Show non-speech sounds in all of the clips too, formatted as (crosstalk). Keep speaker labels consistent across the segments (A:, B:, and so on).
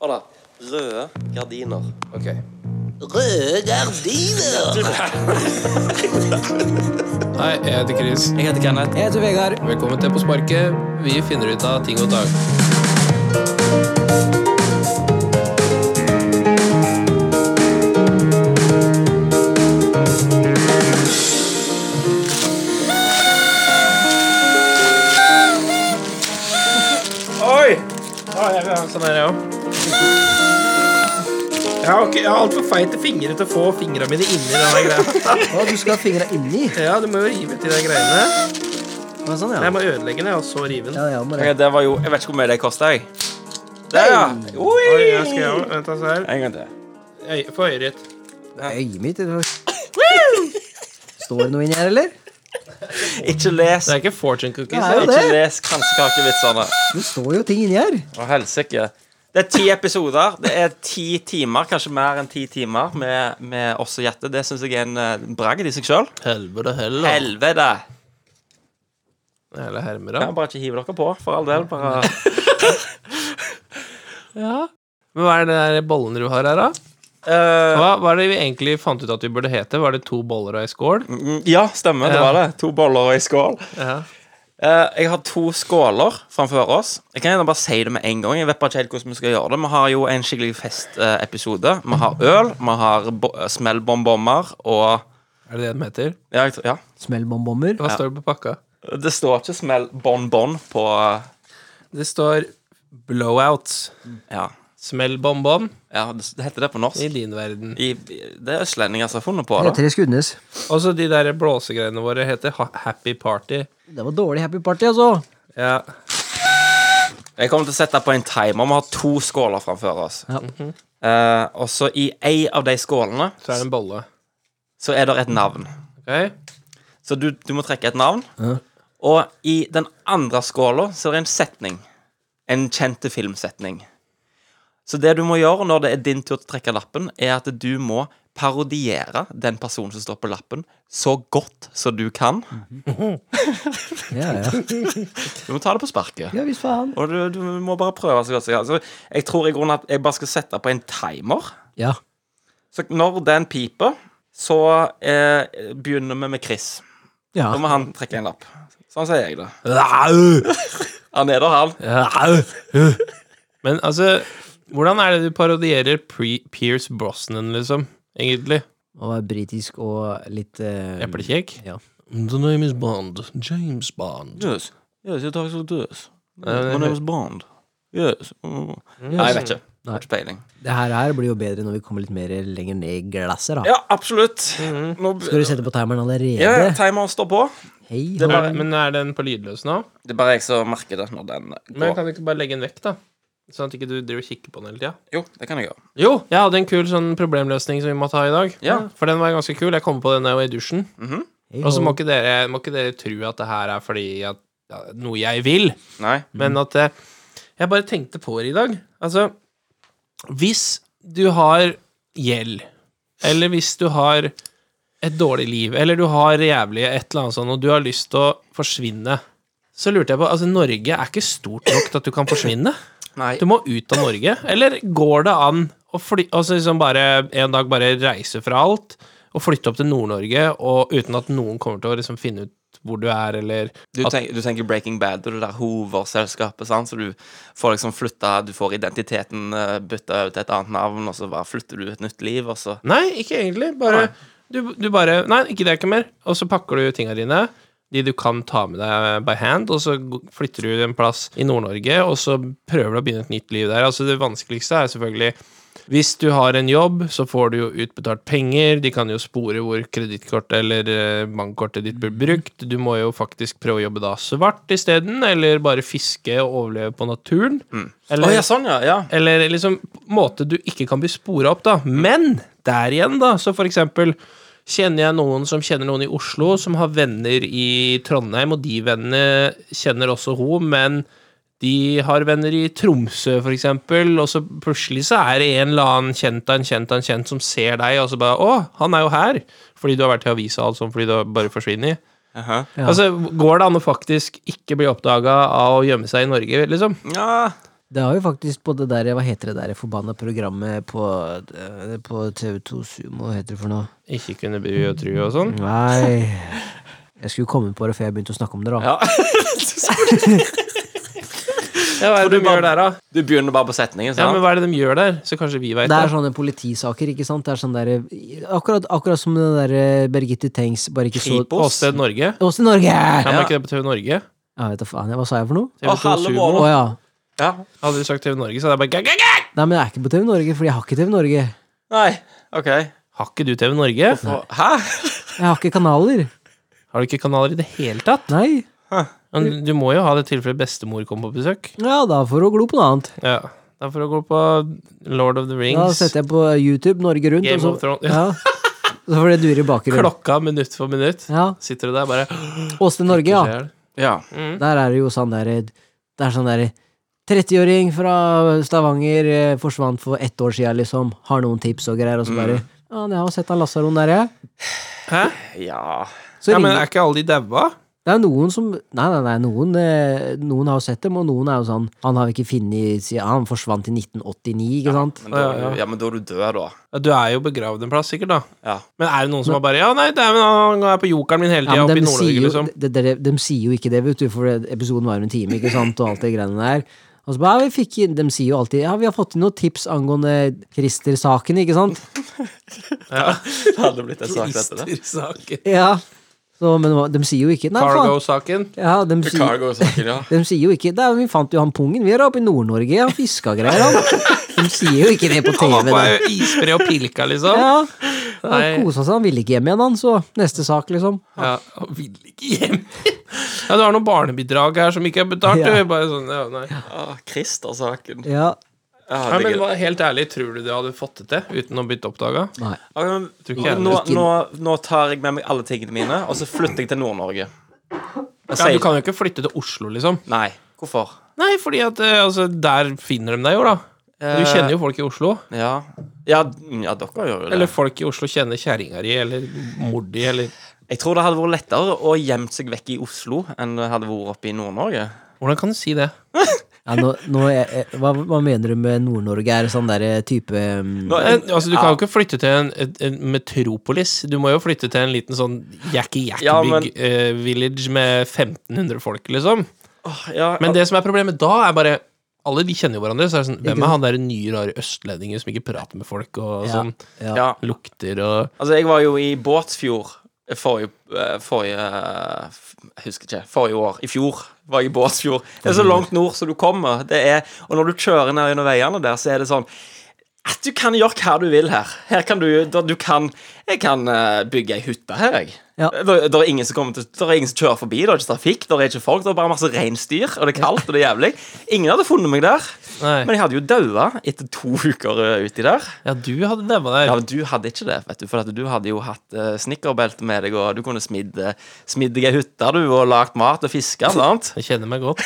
A: Hør da. Røde gardiner.
B: Ok.
A: Røde gardiner!
B: Hei, jeg heter Chris.
A: Jeg heter Kenneth.
C: Jeg heter Vegard.
B: Velkommen til På sparket. Vi finner ut av ting og tang.
D: Oi! Ja, jeg vil ha en sånn her, jeg òg. Jeg har, ikke- jeg har altfor feite fingre til å få fingra mine inni denne greia.
C: Å, du skal ha fingra inni?
D: Ja, du må jo rive til de greiene.
C: Å, Sånn,
D: Nei,
C: ja.
D: Jeg må ødelegge den, ja, og så rive den.
C: Ja, ja, må
A: Ok,
C: det.
A: det var jo Jeg vet ikke hvor mye det kosta, jeg. Der, ja. Oi.
D: Oi, jeg skal gjøre Vent, altså her.
A: En gang til.
D: Øy- Få øyet ditt.
C: Øyet mitt eller hva? Står det noe inni her, eller?
A: Ikke les.
D: Det er ikke fortune cookies.
C: Nei.
D: det.
C: jo
A: Ikke
C: det.
A: les kransekakevitsene.
C: Det står jo ting inni her.
A: Å, helsike. Det er ti episoder. Det er ti timer, kanskje mer enn ti timer, med, med oss og Gjette. Det syns jeg er en eh, bragd i seg sjøl.
B: Helvete heller.
A: Helvete!
B: Hele
A: Ja,
B: hermera.
A: bare ikke hiv dere på, for all del. Bare
B: Ja. Men hva er det der bollen du har her, da?
A: (laughs) Eh,
B: Hva, hva er det vi egentlig fant ut at vi burde hete? Var det to boller og ei skål?
A: mm, Ja, stemmer. Det var det. To boller og ei skål.
B: Ja.
A: Eh, jeg har to skåler framfor oss. Jeg kan gjerne bare si det med en gang. Jeg vet bare ikke helt hvordan Vi skal gjøre det Vi har jo en skikkelig festepisode. vi har øl, vi har bo- eh, smellbonbommer og
B: Er det det den heter?
A: ja, jeg, tror- ja.
C: Smellbonbommer.
B: Hva står det på pakka?
A: Det står ikke smellbonbon på eh,
B: Det står blowouts.
A: Ja,
B: Smell bonbon
A: ja det, det heter det på norsk.
B: i din verden.
A: I, det er østlendinger som har funnet på det.
C: Etter Skudnes.
B: Også de der blåsegreiene våre heter ha Happy Party.
C: Det var dårlig happy party, altså.
B: Ja.
A: Jeg kommer til å sette på en timer. Vi har to skåler framfor oss.
C: Ja.
A: Eh, og så i ei av de skålene
B: Så er det en bolle.
A: så er det et navn.
B: Ok?
A: Så du, du må trekke et navn. Og i den andre skåla så er det en setning. En kjente filmsetning. Så det du må gjøre når det er din tur til å trekke lappen, er at du må parodiere den personen som står på lappen, så godt som du kan.
C: Ja, ja.
A: Du må ta det på sparket.
C: ja visst faen.
A: Og du, du må bare prøve så godt som du kan. Så jeg tror i grunnen at jeg bare skal sette på en timer.
C: Ja.
A: Så når den piper, så eh, begynner vi med Chris.
C: ja.
A: Da må han trekke en lapp. Sånn sier jeg det. Han er der, han.
B: Men altså, hvordan er det du parodierer pre Pierce Brosnan, liksom? Egentlig?
C: Og var britisk og litt eh,
B: Eplekjekk?
C: Ja.
B: Mm, The name is Bond. James Bond.
A: Yes. Yes, jeg tar så døs.
B: My name is
A: Bond. Yes. Mm. Nei, jeg vet ikke. Jeg
C: Nei.
A: Har ikke peiling.
C: Det her, her blir jo bedre når vi kommer litt mer lenger ned i glasset, da.
A: Ja, absolutt. Nå
C: Skal du sette på timeren allerede?
A: ja, timeren står på.
C: Hei,
A: Det
C: hå.
A: var-
B: Men men er den på lydløs nå?
A: Det er bare jeg som merker det når den
B: Men
A: går.
B: kan du ikke bare legge den vekk, da? Sånn at ikke du driver og kikker på den hele tida.
A: Jo, det kan jeg gjøre.
B: Jo, jeg hadde en kul sånn problemløsning som vi må ta i dag.
A: Ja.
B: For den var ganske kul. Jeg kom på den da jeg var i dusjen.
C: Hei,
B: Og så
C: hå.
B: må ikke dere, må ikke dere tro at det her er fordi at, ja, noe jeg vil,
A: Nei.
B: men at eh, jeg bare tenkte på det i dag. Altså, hvis du har gjeld, eller hvis du har et dårlig liv, eller du har jævlig et eller annet sånt, og du har lyst til å forsvinne, så lurte jeg på Altså, Norge er ikke stort nok til at du kan forsvinne.
A: Nei.
B: Du må ut av Norge. Eller går det an å fly, altså liksom bare, en dag bare reise fra alt og flytte opp til Nord-Norge og uten at noen kommer til å liksom finne ut hvor du er, eller
A: Du, tenk, du tenker Breaking Bad og det der hoverselskapet, sant? så du får liksom flytta Du får identiteten eh, bytta ut til et annet navn, og så bare flytter du et nytt liv, og så
B: Nei, ikke egentlig. Bare, du, du bare Nei, ikke det, ikke mer. Og så pakker du tinga dine, de du kan ta med deg by hand, og så g- flytter du en plass i Nord-Norge, og så prøver du å begynne et nytt liv der. Altså, det vanskeligste er selvfølgelig hvis du har en jobb, så får du jo utbetalt penger, de kan jo spore hvor kredittkortet eller eh, bankkortet ditt blir brukt, du må jo faktisk prøve å jobbe da svart isteden, eller bare fiske og overleve på naturen.
A: Å ja, sånn, ja. ja.
B: Eller liksom måte du ikke kan bli spora opp, da. Men der igjen, da, så for eksempel Kjenner jeg noen som kjenner noen i Oslo, som har venner i Trondheim, og de vennene kjenner også hun, men de har venner i Tromsø, for eksempel, og så plutselig så er det en eller annen kjent av en kjent av en kjent som ser deg, og så bare 'Å, han er jo her!' Fordi du har vært i avisa og alt sånt, fordi du har bare forsvinner.
A: Aha.
B: Altså, går det an å faktisk ikke bli oppdaga av å gjemme seg i Norge, liksom?
A: ja.
C: Det har jo faktisk på det der Hva heter det der forbanna programmet på, eh, på TV2 Sumo, hva heter det for noe?
B: Ikke kunne bry og tru og sånn.
C: Nei Jeg skulle komme på det før jeg begynte å snakke om det, da.
A: Ja.
B: Ja, hva er det
A: du
B: de gjør der, da?
A: Du begynner bare på setningen.
B: Ja,
A: sant?
B: men hva er det de gjør der? Så kanskje vi veit
C: Det er sånn
B: det.
C: sånne politisaker, ikke sant? Det er sånn der, akkurat, akkurat som den derre Birgitte Tengs, bare ikke så
A: Kripos.
B: Åsted Norge.
C: Åssen Norge!
B: Ja,
C: Ja.
B: men er ikke det på TV Norge?
C: Jeg vet da faen, jeg, hva sa jeg for noe?
A: Å,
B: TV2
A: halve
C: Å
B: Sumo.
A: måneden.
C: ja.
A: Ja.
B: Hadde du sagt TV Norge, så hadde jeg bare gag, gag, gag!
C: Nei, men det er ikke på TV Norge, fordi jeg har ikke TV Norge.
A: Nei, OK.
B: Har ikke du TV Norge?
A: Og, hæ?
C: Jeg har ikke kanaler.
B: Har du ikke kanaler i det hele tatt?
C: Nei.
B: Men du må jo ha det tilfellet bestemor kommer på besøk.
C: Ja, da får hun glo på noe annet.
B: Ja. Da får du gå på Lord of the
C: Da
B: Rings,
C: setter jeg på YouTube Norge Rundt,
B: Game
C: og
B: of
C: så
B: Thrones
C: ja. Så får det dure i (laughs) bakgrunnen.
B: Klokka minutt for minutt.
C: Ja.
B: Sitter du der bare
C: Åsted Norge, ja.
A: Ja.
B: Mm.
C: Der er det jo sånn der Det er sånn der 30-åring fra Stavanger eh, forsvant for ett år sia, liksom. Har noen tips og greier,
B: Mm.
C: og så bare Ja, jeg har jo sett han Lasaron der, jeg.
B: Hæ?
A: ja.
C: Så
B: ja, men
C: ringer
B: er ikke alle de daua?
C: Det er noen som Nei, nei, nei. Noen, eh, noen har jo sett dem, og noen er jo sånn Han har vi ikke funnet siden Han forsvant i 1989, ikke sant?
A: Men da,
B: Ja,
A: er
B: ja.
A: du- ja, men da er du død, da.
B: Ja, du er jo begravd en plass, sikkert, da.
A: Ja.
B: Men er det noen som har bare Ja, nei, det er, han er på jokeren min hele tida,
C: Ja,
B: oppe
C: men
B: i
C: de sier,
B: Nord-Norge,
C: jo,
B: liksom.
C: de, de, de sier jo ikke det, vet du, for det- episoden var jo en time, ikke sant, og alt det greiene der. Og så bare, ja, vi fikk inn, De sier jo alltid ja, vi har fått inn noen tips angående Christer-saken, ikke sant?
B: Ja.
A: Det (laughs) hadde blitt en sak etter det.
B: Krister-saken.
C: Ja. Så, men hva- de sier jo ikke Nei, faen.
B: Cargo-saken.
C: Ja, de, sier,
A: Chicago-saken, ja.
C: (laughs) de sier jo ikke Nei, vi fant jo han pungen. Vi er oppe i Nord-Norge, han fiska greier, han. De sier jo ikke det på
B: Han var
C: TV.
B: på (laughs)
C: Da.
B: isbre og pilka, liksom.
C: Ja. Han
B: Nei.
C: kosa seg, han ville ikke hjem igjen, han, så neste sak, liksom.
B: Ja, han vil ikke hjem. (laughs) Ja, du har noen barnebidrag her som ikke er betalt,
C: Ja.
B: du. Bare sånn, ja, nei.
A: Ah, Christer-saken.
C: Ja.
A: Ja,
B: Nei,
A: det er
B: men
A: gøy.
B: hva- Helt ærlig, tror du det hadde fått det til uten å blitt oppdaga?
C: Nei.
A: Ok, men
B: Tror ikke jeg
A: nå,
C: det.
A: nå, nå tar jeg med meg alle tingene mine, og så flytter jeg til Nord-Norge. Jeg
B: Ja, du
A: sier-
B: kan jo ikke flytte til Oslo, liksom.
A: Nei. Hvorfor?
B: Nei, fordi at eh, altså, der finner de deg jo, da. Du
A: Eh,
B: kjenner jo folk i Oslo.
A: Ja, ja, mm, ja dere gjør jo det.
B: Eller folk i Oslo kjenner kjerringa di eller mor di eller
A: Jeg tror det hadde vært lettere å gjemme seg vekk i Oslo enn det hadde vært oppe i Nord-Norge.
B: Hvordan kan du si det?
C: Ja, nå, nå, er jeg, hva, hva mener du med Nord-Norge? Er det sånn derre type um,
A: Nå-
B: Eh, altså, Du kan
A: Ja.
B: jo ikke flytte til en, en, en metropolis. Du må jo flytte til en liten sånn
A: Ja, men-
B: jakki-jakki-village med 1500 folk, liksom.
A: Åh, ja,
B: Men det som er problemet da, er bare alle de kjenner jo hverandre. Så er det sånn, Hvem
C: sant?
B: er han der nye, rare østlendingen som ikke prater med folk, og
C: Ja.
B: sånn
C: ja.
A: ja,
B: lukter og
A: altså, jeg var jo i Båtsfjord forrige, eh, forrige eh, f- Jeg husker ikke. Forrige år. I fjor var jeg i Båtsfjord. Det er så langt nord som du kommer. Det er, og når du kjører ned gjennom veiene der, så er det sånn at du kan gjøre hva du vil her. Her kan du, da, du kan, Jeg kan eh, bygge ei hytte her, jeg.
C: Ja.
A: Det er ingen som kommer til Det er ingen som kjører forbi, det er ikke trafikk, det er ikke folk, det er bare masse reinsdyr, og det er kaldt, og det er jævlig. Ingen hadde funnet meg der.
B: Nei.
A: Men jeg hadde jo daua etter to (laughs) uker eh, uti der.
B: Ja, du hadde daua der.
A: Ja, men Du hadde ikke det, vet du, for at du hadde jo hatt uh, snekkerbelte med deg, og du kunne smidd, eh, smidd deg ei hytte du, og lagd mat og fiske. Sant?
B: Jeg kjenner meg godt.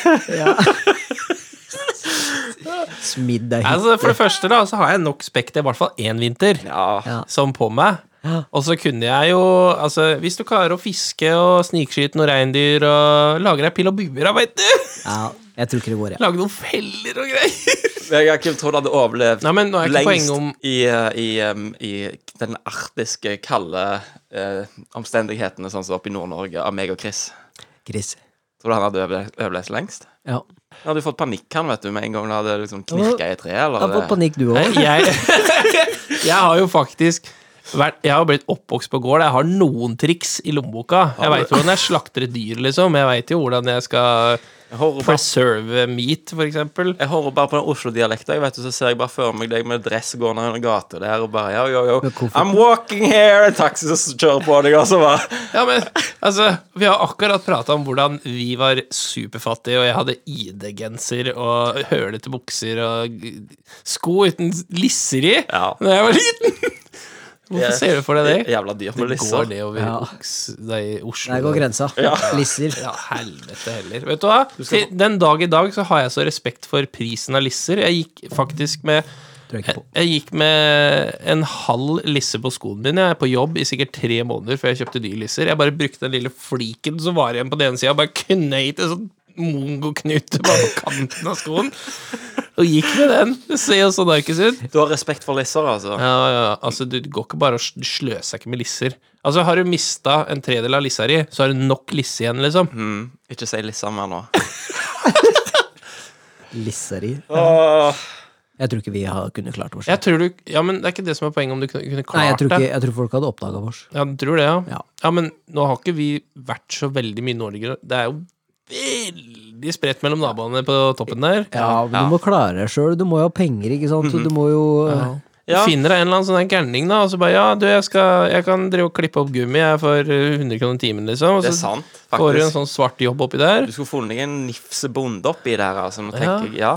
C: Smidd deg hit?
B: Altså, for det første da, så har jeg nok spekter, i hvert fall én vinter,
A: Ja.
C: Ja.
B: som på meg. Og så kunne jeg jo Altså, hvis du klarer å fiske og snikskyte noen reindyr og lage deg pil og buer, da, veit du!
C: Ja, jeg tror ikke det går, jeg.
B: Lage noen feller og greier.
A: Jeg har ikke trodd du hadde overlevd
B: Nei, men nå er ikke
A: lengst
B: poenget om
A: i, eh, i, em, i den arktiske, kalde eh, omstendighetene, sånn som oppe i Nord-Norge, av meg og Chris.
C: Chris.
A: Tror du han hadde overle- overlevd lengst?
C: Ja.
A: Han hadde jo fått panikk, han, vet du, med en gang han hadde liksom knirka i et tre. Eller,
C: Jeg har fått panikk, du òg.
B: Nei, jeg, jeg har jo faktisk vært, jeg har blitt oppvokst på gård. Jeg har noen triks i lommeboka. Jeg veit hvordan jeg slakter et dyr, liksom. Jeg veit jo hvordan jeg skal
A: Jeg hører bare-
B: preserve meat, for eksempel.
A: Jeg hører bare på den Oslo-dialekten, jeg vet du, så ser jeg bare for meg deg med dress gående under gata der og bare yo, yo,
C: Men
A: yo.
C: hvorfor-
A: I'm walking here! En taxi som kjører på deg, og så bare
B: Ja, men altså, Vi har akkurat prata om hvordan vi var superfattige, og jeg hadde ID-genser og hølete bukser og g- sko uten lisser i
A: Ja.
B: da jeg var liten. Hvorfor ser du for deg det?
A: Jævla dyrt med
B: Det går
A: lisser.
B: det over
C: Ja.
B: oks- det er i Oslo.
C: Der går grensa. Lisser.
B: Ja, helvete heller. Vet du hva? Til Den dag i dag så har jeg så respekt for prisen av lisser. Jeg gikk faktisk med
C: Tror jeg ikke
B: jeg,
C: på.
B: jeg gikk med en halv lisse på skoen min. Jeg er på jobb i sikkert tre måneder før jeg kjøpte nye lisser. Jeg bare brukte den lille fliken som var igjen på den ene sida, og bare knøyt en sånn mongoknute bare på kanten av skoen. Og gikk med den. Det ser jo sånn arkes ut.
A: Du har respekt for lisser, altså.
B: Ja, ja, ja. altså Du går ikke bare og s- du sløser ikke med lisser. Altså Har du mista en tredel av lissa di, så har du nok lisse igjen, liksom.
A: Mm, ikke si lisser mer nå.
C: Lisseri.
A: Åh.
C: Jeg tror ikke vi har kunne klart oss.
B: Jeg tror du Ja, men Det er ikke det som er poenget, om du kunne, kunne klart
C: Nei, jeg tror, ikke,
B: det.
C: jeg tror folk hadde oppdaga oss.
B: Ja, du tror det, ja.
C: Ja.
B: men nå har ikke vi vært så veldig mye nordligere. Det er jo veldig spredt mellom naboene på toppen der.
C: Ja, men du må klare deg sjøl. Du må jo ha penger, ikke sant.
B: Mhm.
C: Du må jo
A: Ja.
B: Du finner deg en eller annen sånn der gærning, da, og så bare Ja, du, jeg, skal, jeg kan drive og klippe opp gummi jeg for eh, 100 kroner timen, liksom. Og
A: Det er
B: så
A: sant,
B: får du en
A: faktisk.
B: sånn svart jobb oppi der.
A: Du skulle funnet en nifsebonde oppi der, altså. Nå
B: Ja.
A: tenker jeg, ja.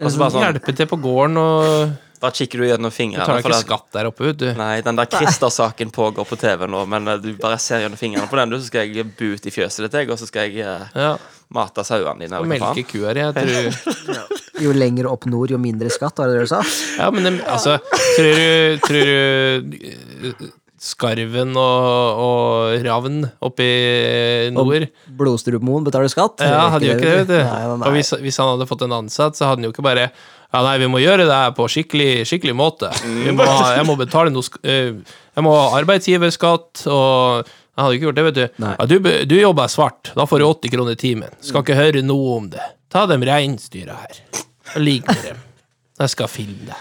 A: Og så
B: Sånn,
A: bare sånn,
B: Hjelpe til på gården og
A: bare kikker du gjennom
B: Du
A: fingrene.
B: tar
A: for
B: ikke
A: det-
B: skatt der oppe, vet du.
A: Nei, den der Christer-saken pågår på TV nå, men eh, du bare ser gjennom fingrene på den, du, så skal jeg bu ut i fjøset ditt, jeg, og så skal jeg eh,
B: Ja,
A: mate sauene dine.
B: og
A: eller hva faen.
B: melke kuer, jeg
A: (laughs)
B: tror
C: Jo lenger opp nord, jo mindre skatt, var det det du sa?
B: Ja, men dem- altså, tror du, tror du eh, Skarven og, og ravn oppe i nord
C: Blodstrupmoen betaler skatt?
B: Ja, hadde jo ikke det, vet du.
C: Nei, nei, nei.
B: Og hvis, hvis han hadde fått en ansatt, så hadde han jo ikke bare Ja, nei, vi må gjøre det her på skikkelig, skikkelig måte. Vi må, ha- jeg må betale noe sk- eh, Jeg må ha arbeidsgiverskatt og Jeg hadde jo ikke gjort det, vet du.
C: Nei.
B: Ja, du, be- du jobber svart. Da får du 80 kroner timen. Skal ikke høre noe om det. Ta dem reinsdyra her. Jeg ligg med dem. Jeg skal filme deg.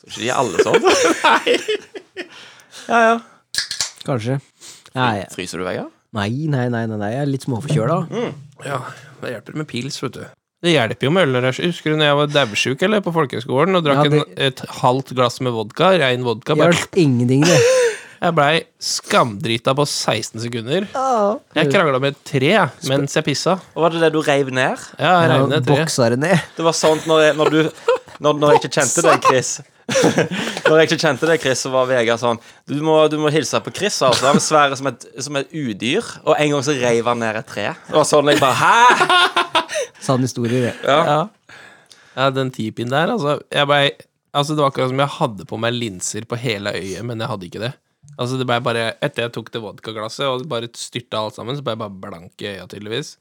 A: Tror ikke de er alle
B: (laughs)
A: sånn. Nei. Ja, ja.
C: Kanskje. Nei,
A: Fryser du, Vegard?
C: nei, nei, nei, nei, nei. jeg er litt småforkjøla.
B: Mhm. Ja, det hjelper med pils, vet du. Det hjelper jo med øl. når jeg- Husker du når jeg var daudsjuk eller, på folkehøgskolen og drakk
C: Ja, det-
B: en, et halvt glass med vodka? Rein vodka. Bare
C: Hjalp ingenting, det.
B: Jeg blei skamdrita på 16 sekunder. Jeg krangla med et tre jeg, mens jeg pissa.
A: Og var det det du reiv ned?
B: Ja, jeg regner et tre.
C: Boksa det ned.
A: Det var sånn når, jeg- når du når, når jeg ikke kjente deg, Chris (laughs) Når jeg ikke kjente deg, Chris, så var Vegard sånn Du må, du må hilse på Chris, altså. Han er svære som et, som et udyr. Og en gang så reiv han ned et tre. Det var sånn jeg bare Hæ?!
C: Sann historie, det.
B: Ja. ja, den tipien der, altså. Jeg blei Altså, det var akkurat som jeg hadde på meg linser på hele øyet, men jeg hadde ikke det. Altså, det blei bare Etter jeg tok det vodkaglasset og bare styrta alt sammen, så blei jeg bare blank i øya, tydeligvis.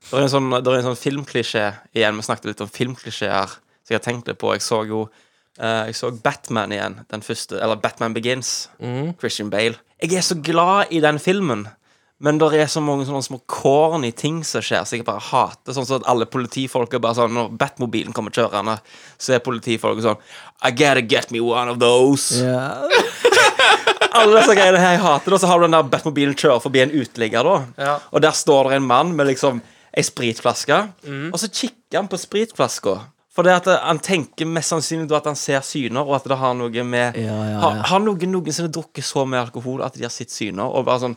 A: Det er en sånn, det er en sånn filmklisjé igjen. Vi snakket litt om filmklisjeer. Så jeg har tenkt litt på Jeg så jo eh, Jeg så Batman igjen. Den første. Eller Batman Begins. Christian Bale. Jeg er så glad i den filmen. Men det er så mange sånne små corny ting som skjer, så jeg bare hater sånn som at alle politifolk er bare sånn Når Batmobilen kommer kjørende, så er politifolket sånn I gotta get me one of those.
C: Ja.
A: Alle disse greiene her jeg hater, da, så har du den der Batmobilen kjører forbi en uteligger, da.
B: Ja.
A: Og der står det en mann med liksom ei spritflaske,
B: Mhm.
A: og så kikker han på spritflaska. For det at han tenker mest sannsynlig da at han ser syner, og at det har noe med
C: Ja, ja, ja.
A: Har, har noen noensinne drukket så mye alkohol at de har sett syner, og bare sånn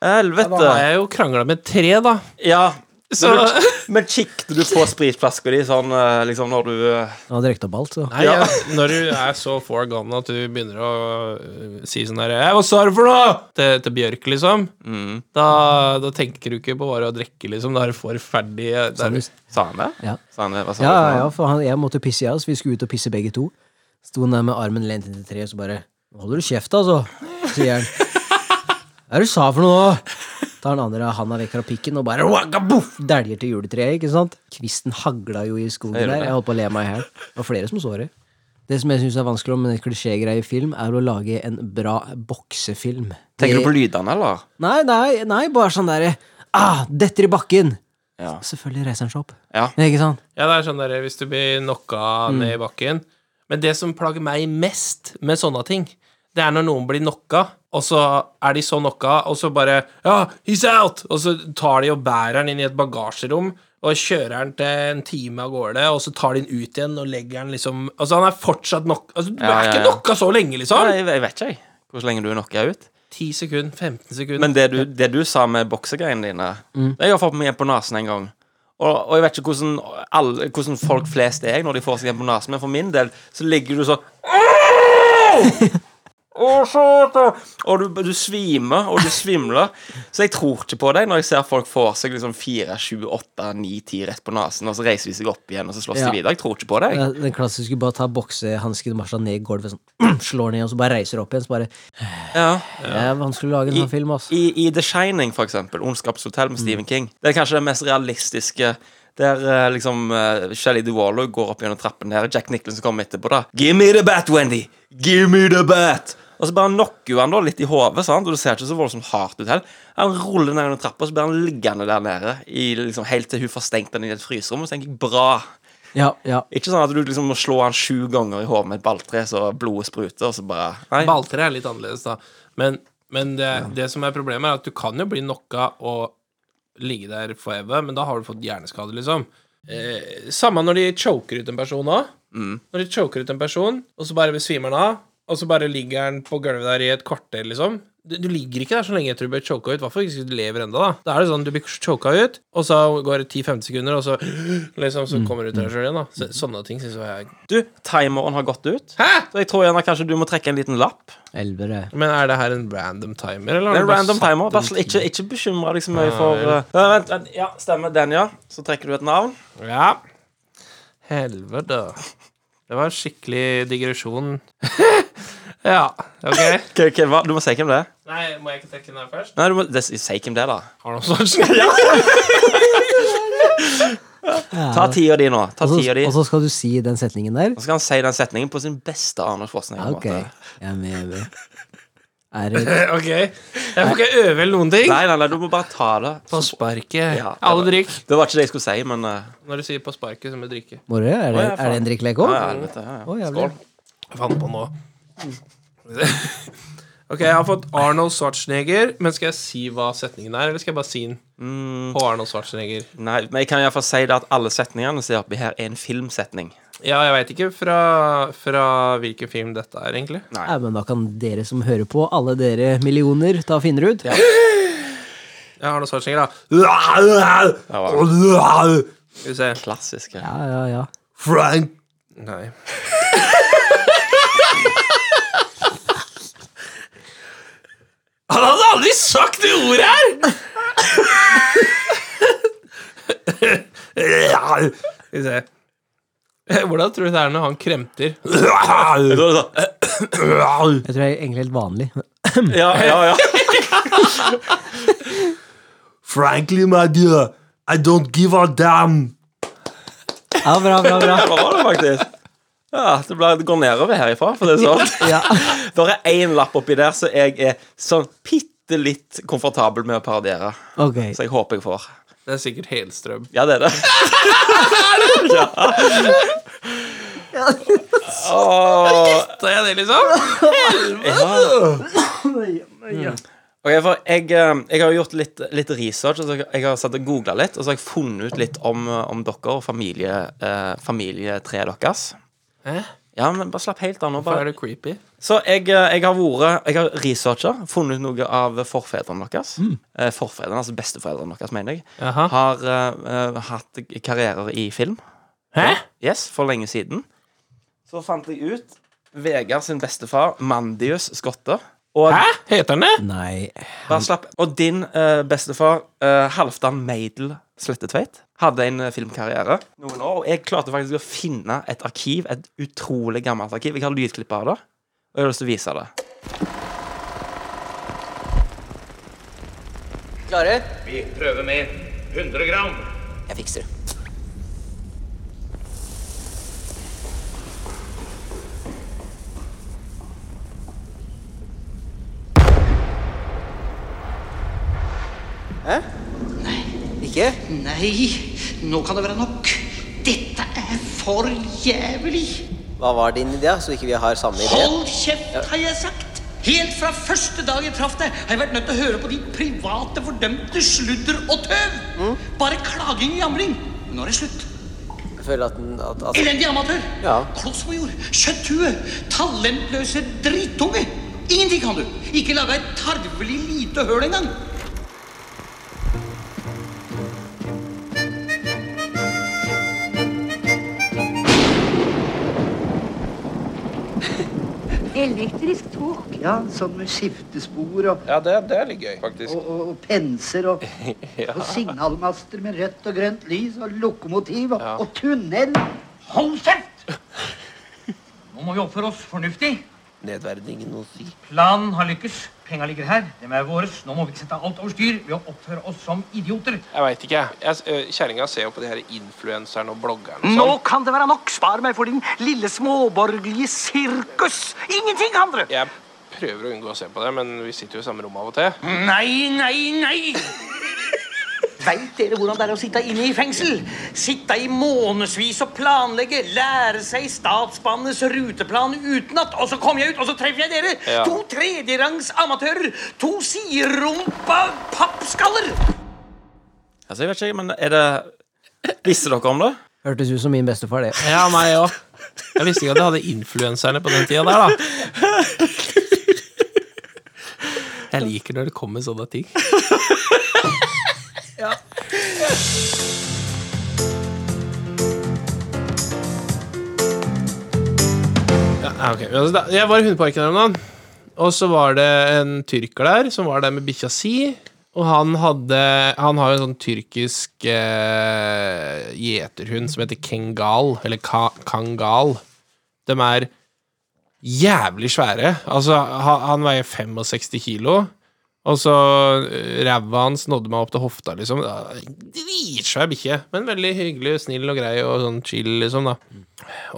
A: Helvete!
B: Da har jeg jo krangla med et tre, da.
A: Ja.
B: Så
A: Men, du, men kikket du på spritflaska di sånn eh, liksom når du eh,
C: Han hadde rekt opp alt, så.
B: Nei,
A: Ja.
B: jeg, når du er så far gone at du begynner å øh, si sånn her «Hei, Hva sa du for noe?! Til, til Bjørk, liksom. Da, da tenker du ikke på bare å drikke, liksom. Da er du forferdelig da er du-
A: Sa han det?
C: Ja.
A: Sa han det? Hva sa
C: Ja,
A: han det
C: ja,
A: for noe?
C: ja, for han, jeg måtte pisse, jeg, så vi skulle ut og pisse begge to. Sto han der med armen lent inntil treet, og så bare «Nå Holder du kjeft, altså?
A: (laughs)
C: sier han. Hva er det du sa for noe nå? Tar han andre handa vekk fra pikken og bare waka, boff, dæljer til juletreet, ikke sant? Kvisten hagla jo i skogen
A: Det gjorde
C: der.
A: det.
C: Jeg holdt på å le meg i hjel. Det var flere som så det. Det som jeg syns er vanskelig om en klisjégreie i film, er å lage en bra boksefilm.
A: Tenker
C: Det-
A: du på lydene, eller?
C: Nei, nei, nei, bare sånn derre ah, Detter i bakken!
A: Ja.
C: Selvfølgelig reiser han seg opp.
A: ja.
C: Ikke sant?
B: Ja, det er sånn der hvis du blir knocka
A: Mm.
B: ned i bakken. Men det som plager meg mest med sånne ting, det er når noen blir knocka, og så er de så knocka, og så bare Ja, he's out! Og så tar de og bærer han inn i et bagasjerom. Og kjører han til en time av gårde, og så tar de han ut igjen og legger han liksom Altså, han er fortsatt nok... Altså, du
A: Ja,
B: er
A: ja,
B: ikke
A: ja.
B: knocka så lenge, liksom!
A: Nei, jeg, jeg vet ikke, jeg. Hvor lenge du knocker ut.
B: 10 sekunder, 15 sekunder
A: Men det du, det du sa med boksegreiene dine
C: Mm.
A: Det har jeg fått meg en på nesen en gang. Og, og jeg vet ikke hvordan, alle, hvordan folk flest er når de får seg en på nesen, men for min del så ligger du sånn «Åh, satan!» Og du, du svimer, og du svimler. Så jeg tror ikke på deg når jeg ser folk får seg liksom 4, 7, 8, 9, 10 rett på nesen, og så reiser de seg opp igjen, og så slåss
C: Ja.
A: de videre. Jeg tror ikke på deg.
C: Ja, Den klassiske bare ta boksehansken og marsja ned i gulvet, sånn, (clears throat) slår ned, og så bare reiser opp igjen. Så bare
A: Ja.
C: Det er vanskelig å lage en sånn film, ass.
A: I, I The Shining, for eksempel, Ondskapshotell med Stephen King, det er kanskje det mest realistiske Der eh, liksom uh, Shelly DeWallo går opp gjennom trappen der. Jack Nicholson kommer etterpå. da Give me the bat, Wendy! Give me the bat! Og så bare knocker hun han da litt i hodet, sant? og det ser ikke så voldsomt hardt ut heller. Han ruller ned gjennom trappa, og så blir han liggende der nede i, liksom, helt til hun får stengt den i et fryserom. Og så tenker jeg bra.
C: Ja, ja.
A: Ikke sånn at du liksom må slå han sju ganger i hodet med et balltre så blodet spruter, og så bare Nei.
B: Balltre er litt annerledes, da. Men, men det, det som er problemet, er at du kan jo bli knocka og ligge der forever, men da har du fått hjerneskade, liksom. Eh, samme når de choker ut en person òg.
A: Mm.
B: Når de choker ut en person, og så bare besvimer han av, og så bare ligger han på gulvet der i et kvarter, liksom. Du, du ligger ikke der så lenge etter du ble choka ut. Hvorfor ikke du lever enda da? Da er det sånn, du blir choka ut, og så går det 10-15 sekunder, og så liksom, så
A: Mm.
B: kommer du ut av deg sjøl igjen, da. Så, sånne ting syns jeg er
A: Du, timeren har gått ut.
B: Hæ?!
A: Så jeg tror gjerne kanskje du må trekke en liten lapp.
C: Elvere.
B: Men er det her en random timer, eller? har
A: Det er
B: du
A: en
B: bare
A: random
B: satt
A: timer.
B: en
A: Bare, sl- ikke ikke bekymre deg så mye for uh, Nei, Vent, vent. Ja, stemmer. Den, ja. Så trekker du et navn.
B: Ja. Helvete. Det var en skikkelig digresjon. (laughs) ja, ok.
A: K k hva? Du må si hvem det er.
B: Nei, må jeg ikke trekke den her først?
A: Nei, du må det, si hvem det er, da.
B: Har du noe sånt? (laughs) Ja.
A: Ta tida di nå. Ta
C: Og så-
A: tida di.
C: og så skal du si den setningen der?
A: Så skal han si den setningen på sin beste Arnold
C: Ok.
A: Schwarzenegger-måte.
C: Jeg er med, jeg er med. Er det
B: ok. Jeg får ikke øve eller noen ting.
A: Nei, nei, nei, du må bare ta det.
B: På sparket.
A: Ja, det
B: Alle
A: var-
B: drikk.
A: Det var ikke det jeg skulle si, men uh,
B: Når du sier på sparket, så må du drikke.
C: Moro, er det,
A: Å, ja,
C: er det en
A: faen.
C: drikkelek
A: ja,
C: òg?
A: helvete, ja,
C: Å,
A: ja.
C: jævlig.
A: Skål.
B: Jeg fant på nå. (laughs) ok, jeg har fått Arnold Schwarzenegger, men skal jeg si hva setningen er, eller skal jeg bare si den på Arnold Schwarzenegger?
A: Nei, men jeg kan iallfall si det at alle setningene som er oppi her, er en filmsetning.
B: Ja, jeg veit ikke fra, fra hvilken film dette er, egentlig.
C: Ja, men da kan dere som hører på, alle dere millioner, ta og finne det ut.
B: Jeg har noe svartsinger, da. Skal vi se
A: Klassiske.
C: Ja, ja, ja.
B: Frank Nei. Han hadde aldri sagt det ordet her! Skal vi se. Hvordan tror du det er når han kremter?
A: Da er det sånn,
C: Jeg tror jeg er egentlig helt vanlig.
A: Ja, ja, ja.
E: (coughs) Frankly, my dear, I don't give a damn.
C: Ja, bra, bra, bra.
A: (laughs) Det var det faktisk. Ja, det, ble, det går nedover herifra, for det er sånn.
C: Ja.
A: Det er én lapp oppi der som jeg er sånn bitte litt komfortabel med å parodiere.
C: Ok.
A: Så jeg håper jeg får.
B: Det er sikkert Helstrøm.
A: Ja, det er
B: (laughs)
A: det.
B: Sa jeg det, liksom?
A: Ok, for jeg, eh, jeg har gjort litt, litt research. Altså jeg har satt og googla litt, og så har jeg funnet ut litt om, eh, om dere og familie, eh, familietreet deres.
B: Hæ?
A: Ja, men bare slapp helt av nå.
B: Hva
A: Bare.
B: er det creepy?
A: Så jeg, eh, jeg har vært Jeg har researcha, funnet ut noe av forfedrene deres. Eh, Forfedrene, altså besteforeldrene deres, mener jeg.
B: Mm. Jaha.
A: Har eh, eh, hatt karrierer i film.
B: Hæ?
A: Yes, for lenge siden. Så fant jeg ut Vegard sin bestefar, Mandius Skotte. Og,
B: Hæ? Heter han det?
C: Nei.
A: Bare slapp. og din eh, bestefar, eh, Halvdan Meidel Slettetveit, hadde en eh, filmkarriere noen år. Og jeg klarte faktisk å finne et arkiv, et utrolig gammelt arkiv. Jeg har lydklipp av det, og jeg har lyst til å vise det.
C: Klare?
F: Vi prøver med 100 gram.
C: Jeg fikser det. Ikke?
G: Nei, nå kan det være nok. Dette er for jævlig.
C: Hva var din idé, så ikke vi har samme
G: Hold kjeft, har jeg sagt. Helt fra første dag jeg traff deg, har jeg vært nødt til å høre på ditt private, fordømte sludder og tøv. Bare klaging og jamring. Nå er det slutt.
C: Jeg føler at den at, at,
G: Elendig amatør.
C: Ja.
G: Kloss på jord. Kjøtthue. Talentløse drittunge. Ingenting kan du. Ikke lage et tarvelig lite høl engang.
H: Elektrisk tog.
I: Ja, sånn med skiftespor og,
B: Ja, det, det er litt gøy, faktisk.
I: og, og, og penser
B: (laughs)
I: og, og signalmaster med rødt og grønt lys og lokomotiv og, og tunnel.
G: Hold kjeft! Nå må vi oppføre oss fornuftig.
J: nedverdingen å si.
G: Planen har lykkes. Penga ligger her. Dem er våres. Nå må vi ikke sette alt over styr ved å oppføre oss som idioter.
B: Jeg veit ikke, jeg. jeg. ø, Kjerringa ser jo på de her influenserne og bloggerne og
G: Nå
B: sånn.
G: kan det være nok. Spar meg for din lille småborgerlige sirkus. Ingenting, andre.
B: Jeg prøver å unngå å se på det, men vi sitter jo i samme rom av og til.
G: Nei, nei, nei! Veit dere hvordan det er å sitte inne i fengsel? Sitte i månedsvis og planlegge, lære seg statsbanenes ruteplan utenat, og så kommer jeg ut, og så treffer jeg dere!
B: Ja.
G: To tredjerangs amatører! To siderumpa pappskaller!
A: Altså, jeg vet ikke, men er det Visste dere om det?
C: Hørtes ut som min bestefar, det.
B: Ja, meg òg. Jeg visste ikke at jeg hadde influenserne på den tida der, da. Jeg liker når det kommer sånne ting. Ja. ja ok. Altså, da- Jeg var i hundeparken her om dagen, og så var det en tyrker der som var der med bikkja si. Og han hadde Han har jo en sånn tyrkisk eh, gjeterhund som heter kengal, eller ka, kangal. De er jævlig svære. Altså, han, han veier 65 kilo. Og så eh, ræva hans nådde meg opp til hofta, liksom. Ja, Dritsvær bikkje, men veldig hyggelig, snill og grei og sånn chill, liksom, da.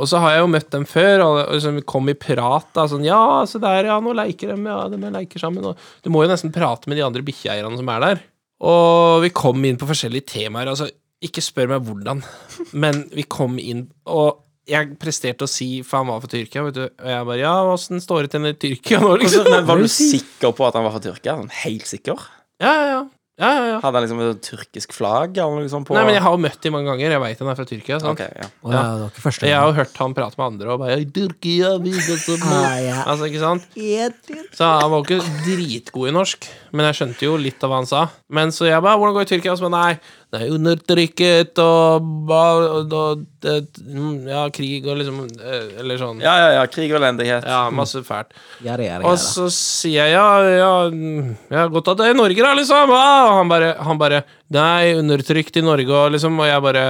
B: Og så har jeg jo møtt dem før, og og liksom, vi kom i prat, da. Sånn, ja, se der, ja, nå leker de, ja, de leker sammen. Og du må jo nesten prate med de andre bikkjeeierne som er der. Og vi kom inn på forskjellige temaer, altså, ikke spør meg hvordan, (laughs) men vi kom inn, og jeg presterte å si, for han var fra Tyrkia, vet du, og jeg bare, ja, åssen står det til med Tyrkia nå,
A: Altså,
B: liksom?
A: men Var du sikker på at han var fra Tyrkia? Sånn, helt sikker?
B: Ja, ja, ja. ja, ja, ja.
A: Hadde han liksom et tyrkisk flagg eller noe sånt på
B: Nei, men jeg har jo møtt dem mange ganger. Jeg veit han er fra Tyrkia. sant?
A: Ok, ja.
C: Å, ja, det var ikke første
B: Jeg
C: gang.
B: har jo hørt han prate med andre og bare «I Tyrkia, vi går som nå».
C: Ah, ja.
B: Altså, ikke sant? Så han var jo ikke dritgod i norsk, men jeg skjønte jo litt av hva han sa. Men så jeg bare 'Hvordan går det i Tyrkia?' Og så bare 'Nei, det er undertrykket og, ba- og, og det, mm, Ja, krig og liksom eh, Eller sånn.
A: ja, ja, ja. Krig og elendighet.
B: Ja, masse fælt.
C: Ja, det er det,
B: Og
C: ja, da.
B: så sier jeg ja, ja, mm, ja godt at det er i Norge, da, liksom. Ja, Og han bare, han bare Nei, undertrykt i Norge, og liksom. Og jeg bare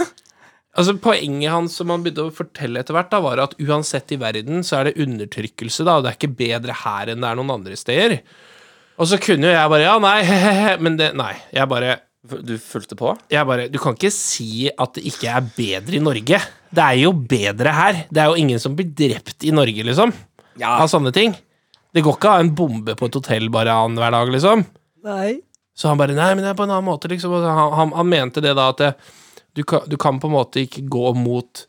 B: (laughs) Altså, Poenget hans som han begynte å fortelle etter hvert, da, var at uansett i verden så er det undertrykkelse, da, og det er ikke bedre her enn det er noen andre steder. Og så kunne jo jeg bare Ja, nei, (laughs) he-he-he, men det Nei. Jeg bare
A: F- Du fulgte på?
B: jeg bare, Du kan ikke si at det ikke er bedre i Norge. Det er jo bedre her. Det er jo ingen som blir drept i Norge, liksom. Av sånne ting. Det går ikke å ha en bombe på et hotell bare annenhver dag, liksom.
C: Nei.
B: Så han bare Nei, men det er på en annen måte, liksom. Og så Han, han, han mente det da at det, du, kan, du kan på en måte ikke gå mot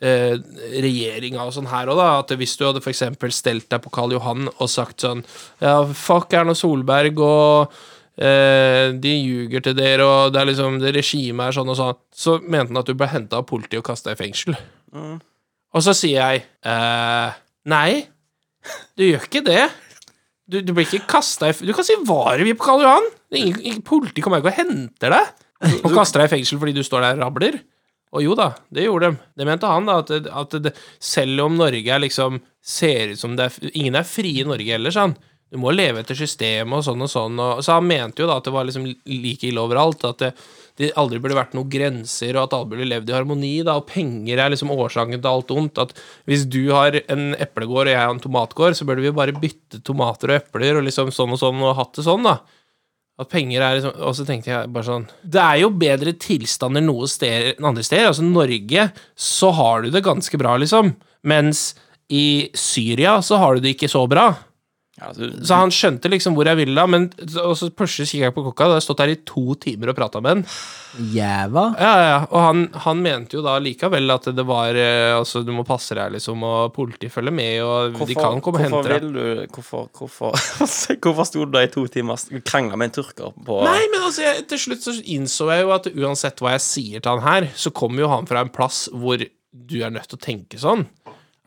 B: eh, regjeringa og sånn her òg, da. At hvis du hadde for eksempel stelt deg på Karl Johan og sagt sånn Ja, fuck Erna Solberg og eh, de ljuger til dere, og det er liksom Det regimet er sånn og sånn. Så mente han at du ble henta av politiet og kasta i fengsel. Og så sier jeg eh, Nei, du gjør ikke det. Du, du blir ikke kasta i f- Du kan si hva du vil på Karl Johan. Det er Ingen, ingen, politiet kommer ikke og henter deg og kaster deg i fengsel fordi du står der og rabler. Og jo da, det gjorde de. Det mente han, da. At, det- at det, selv om Norge er liksom ser ut som det er f- Ingen er frie i Norge heller, sa han. Du må leve etter systemet og sånn og sånn. Og, så han mente jo da at det var liksom like ille overalt. At det, det aldri burde vært noen grenser, og at alle burde levd i harmoni. da, Og penger er liksom årsaken til alt ondt. At hvis du har en eplegård og jeg har en tomatgård, så burde vi bare bytte tomater og epler og liksom sånn og sånn, og hatt det sånn, da. At penger er liksom Og så tenkte jeg bare sånn Det er jo bedre tilstander noe sted enn andre steder. Altså, Norge, så har du det ganske bra, liksom. Mens i Syria så har du det ikke så bra.
A: Ja, altså, du-
B: Så han skjønte liksom hvor jeg ville, da, men og så plutselig kikket jeg på klokka, og da hadde jeg stått der i to timer og prata med han.
C: Jæva.
B: Ja, ja, ja. Og han, han mente jo da likevel at det var eh, Altså, du må passe deg, liksom, og politiet følger med, og de kan komme og hente
A: hvorfor
B: deg.
A: vil du Hvorfor, hvorfor, hvorfor (laughs) sto du da i to timer og krangla med en tyrker på
B: Nei, men altså, jeg, til slutt så innså jeg jo at uansett hva jeg sier til han her, så kommer jo han fra en plass hvor du er nødt til å tenke sånn.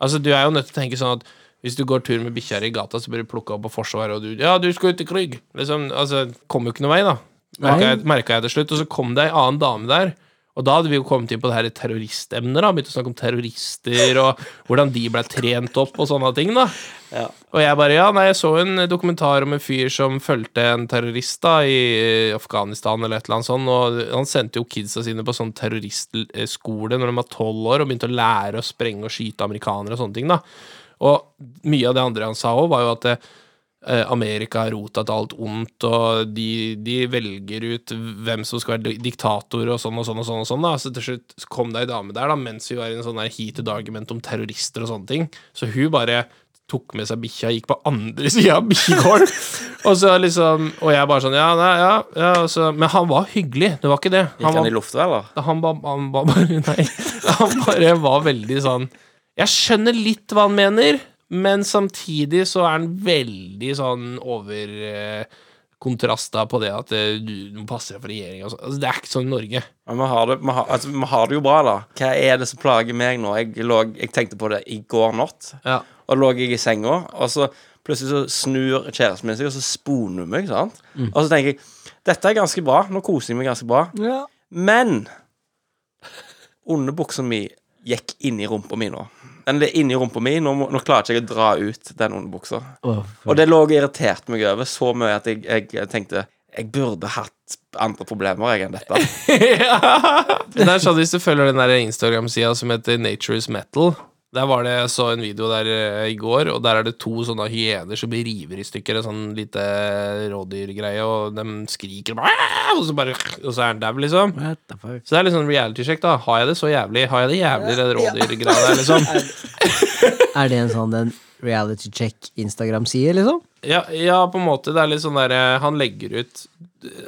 B: Altså, du er jo nødt til å tenke sånn at hvis du går tur med bikkja di i gata, så blir du plukka opp av Forsvaret, og du Ja, du skal ut i krig! Liksom, altså, kom jo ikke noen vei, da. Merka jeg, merket jeg til slutt. Og så kom det ei annen dame der. Og da hadde vi jo kommet inn på det her terroristemnet, da. Begynt å snakke om terrorister, og hvordan de ble trent opp, og sånne ting, da. Og jeg bare, ja, nei, jeg så en dokumentar om en fyr som fulgte en terrorist da
D: eh,
B: i Afghanistan eller et eller annet sånt, og han sendte jo kidsa sine på sånn terroristskole når de var tolv år, og begynte å lære å sprenge og skyte amerikanere og sånne ting, da.
D: Og mye av det andre han sa òg, var jo at eh, Amerika er rota til alt ondt, og de, de velger ut hvem som skal være di- diktator, og sånn og sånn og sånn. og sånn da. Så til slutt så kom det ei dame der, da, mens vi var i en sånn der heated argument om terrorister og sånne ting. Så hun bare tok med seg bikkja, gikk på andre (laughs) sida av bikkjegården. og så liksom Og jeg bare sånn Ja, nei, ja, ja og så, Men han var hyggelig, det var ikke det.
A: Gikk han
D: var,
A: i lufta, eller?
D: han, ba, han ba bare Nei. Han bare var veldig sånn Jeg skjønner litt hva han mener, men samtidig så er han veldig sånn over eh, kontrasta på det at eh, du du må passe
B: (laughs)
D: deg for regjeringa og sånn. Altså, det er ikke sånn i Norge.
A: Men vi har, det, vi, har, altså, vi har det jo bra, da. Hva er det som plager meg nå? Jeg, lå, jeg tenkte på det i går natt.
D: Ja.
A: Og lå jeg i senga, og så plutselig så snur kjæresten min seg, og så sponer hun meg. sant? Og så tenker jeg dette er ganske bra. Nå koser jeg meg ganske bra. Men underbuksa mi gikk inni rumpa mi nå. Den er inni rumpa mi. Nå, må- nå klarer ikke jeg å dra ut den underbuksa. Og det lå og irriterte meg over så mye at jeg, jeg tenkte jeg burde hatt andre problemer jeg enn dette.
D: Det er sånn Hvis du følger den der Instagram-sida som heter Nature is Metal Der var det, Jeg så en video der eh, i går, og der er det to sånne hyener som blir river i stykker. En sånn lite rådyrgreie, og de skriker «Aah!» Og så bare Og så er den dau, liksom.
C: What the fuck?
D: Så det er litt sånn reality-sjekk, da. Har jeg det så jævlig? Har jeg det jævlig, det rådyrgreia der, liksom?
C: Er det en sånn den reality check Instagram-side, liksom?
D: Ja, ja, på en måte. Det er litt sånn der eh, Han legger ut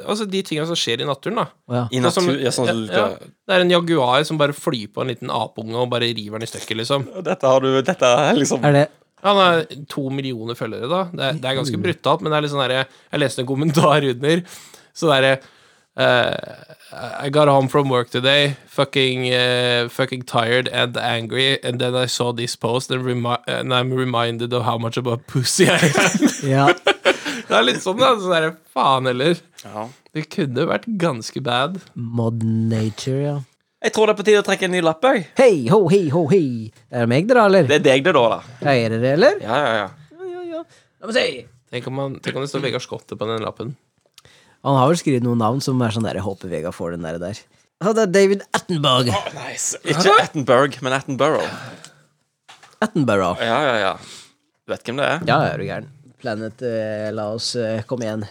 D: Altså, de tinga som skjer i naturen, da.
C: Å ja.
A: I
D: Sånn som-
A: natur, ja, sånn som du
D: ja,
A: skal...
D: ja. Det er en jaguar som bare flyr på en liten apeunge og bare river den i stykker, liksom.
A: Dette har du Dette er liksom
C: Er det
D: Han har to millioner følgere, da. Det er, det er ganske brutalt, men det er litt sånn derre Jeg leste en kommentar (laughs) under, så derre eh, I got home from work today, fucking, eh, fucking tired and angry, and then I saw this post and, remi and I'm reminded of how much of a pussy I am. (laughs)
C: Ja.
D: det er litt sånn, da. Sånn derre faen heller.
A: Ja.
D: Det kunne vært ganske bad.
C: Modern nature, ja.
A: Jeg tror det er på tide å trekke en ny lapp. Jeg.
C: Hei, ho, hei, ho, hei. Er det meg dere, eller?
A: Det er deg, det, da. da
C: Er det det, eller?
A: Ja, ja, ja
C: La meg se.
D: Tenk om, man, tenk om det står Vegard Skotte på den lappen.
C: Han har vel skrevet noen navn som er sånn der, jeg håper Vega får den der. der. Ja, det er David Attenborough.
A: Ikke Attenberg, men Attenborough.
C: Attenborough.
A: Ja, ja, ja. Du vet hvem det er?
C: Ja, er du gæren. Planet, eh, la oss eh, komme igjen.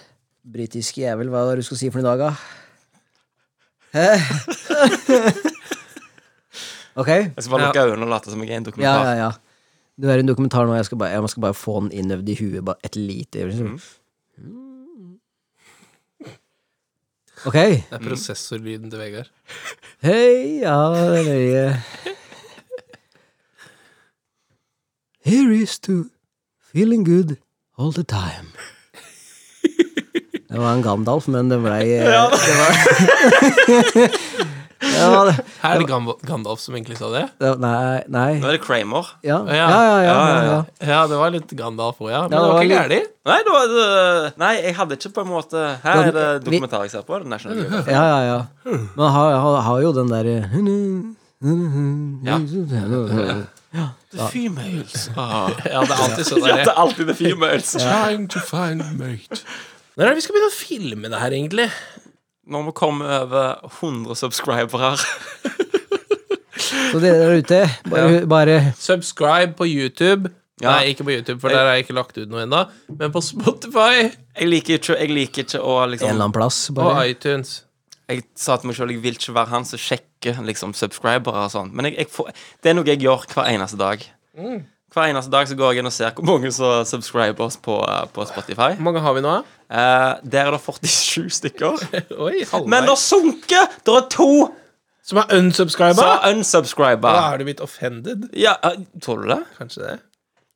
C: Britisk jævel, hva var det du skulle si for noen dager? Hæ? (laughs) ok.
A: Jeg skal bare lukke øynene og late som jeg er en
C: Ja, ja,
A: dokumentar.
C: ja. Du er i en dokumentar nå, jeg skal bare, jeg skal bare få den innøvd i huet bare et lite liksom. Ok.
D: Det er prosessorlyden til Vegard.
C: Hei, ja, det er nøye. Here is to feeling good all the time. Det var en Gandalf, men det blei ja, det, (laughs) var... det,
D: Her er det Gam- Gandalf som egentlig sa det.
C: det Nei, nei.
A: Nå er det Kramer.
C: Ja,
D: Å,
C: ja, ja. ja, ja, ja.
D: Ja, det var litt Gandalf òg, ja. Men
C: Ja,
D: det var
C: det
D: ikke
C: var
D: gærent.
A: Nei, det var, det- nei, jeg hadde ikke på en måte Her er det
C: Men, vi-
A: dokumentar jeg ser på. det er National Geographic.
C: Ja, ja, ja. Men han har, har, har jo den der eh,
A: Ja.
C: ja.
A: The Females.
D: Ja, det er alltid sånn
A: Ja,
D: der.
A: (laughs) det er alltid The Females.
D: Trying to find mate. Når er det vi skal begynne å filme det her, egentlig?
A: Når vi kommer over 100 subscribere
C: Så dere der ute, bare, bare
D: Subscribe på YouTube.
A: Ja.
D: Nei, ikke på YouTube, for der har jeg ikke lagt ut noe ennå. Men på Spotify
A: Jeg liker ikke, jeg liker ikke å
C: En eller
A: liksom
C: annen plass.
D: og
C: Bare.
D: iTunes.
A: Jeg sa til meg selv jeg vil ikke være han som sjekker liksom, subscribere og sånn. Men jeg, jeg får, det er noe jeg gjør hver eneste dag.
D: Mm.
A: Hver eneste dag så går jeg inn og ser hvor mange som subscriber oss på, eh, på Spotify.
D: Hvor mange har vi nå? da?
A: Eh, der er det 47
D: (laughs)
A: stykker.
D: Oi,
A: Men det
D: halvveis.
A: sunker! Det er to
D: Som er unsubscriba?
A: som unsubscriber.
D: Da er du blitt offended.
A: Ja, eh, tror du det?
D: Kanskje det.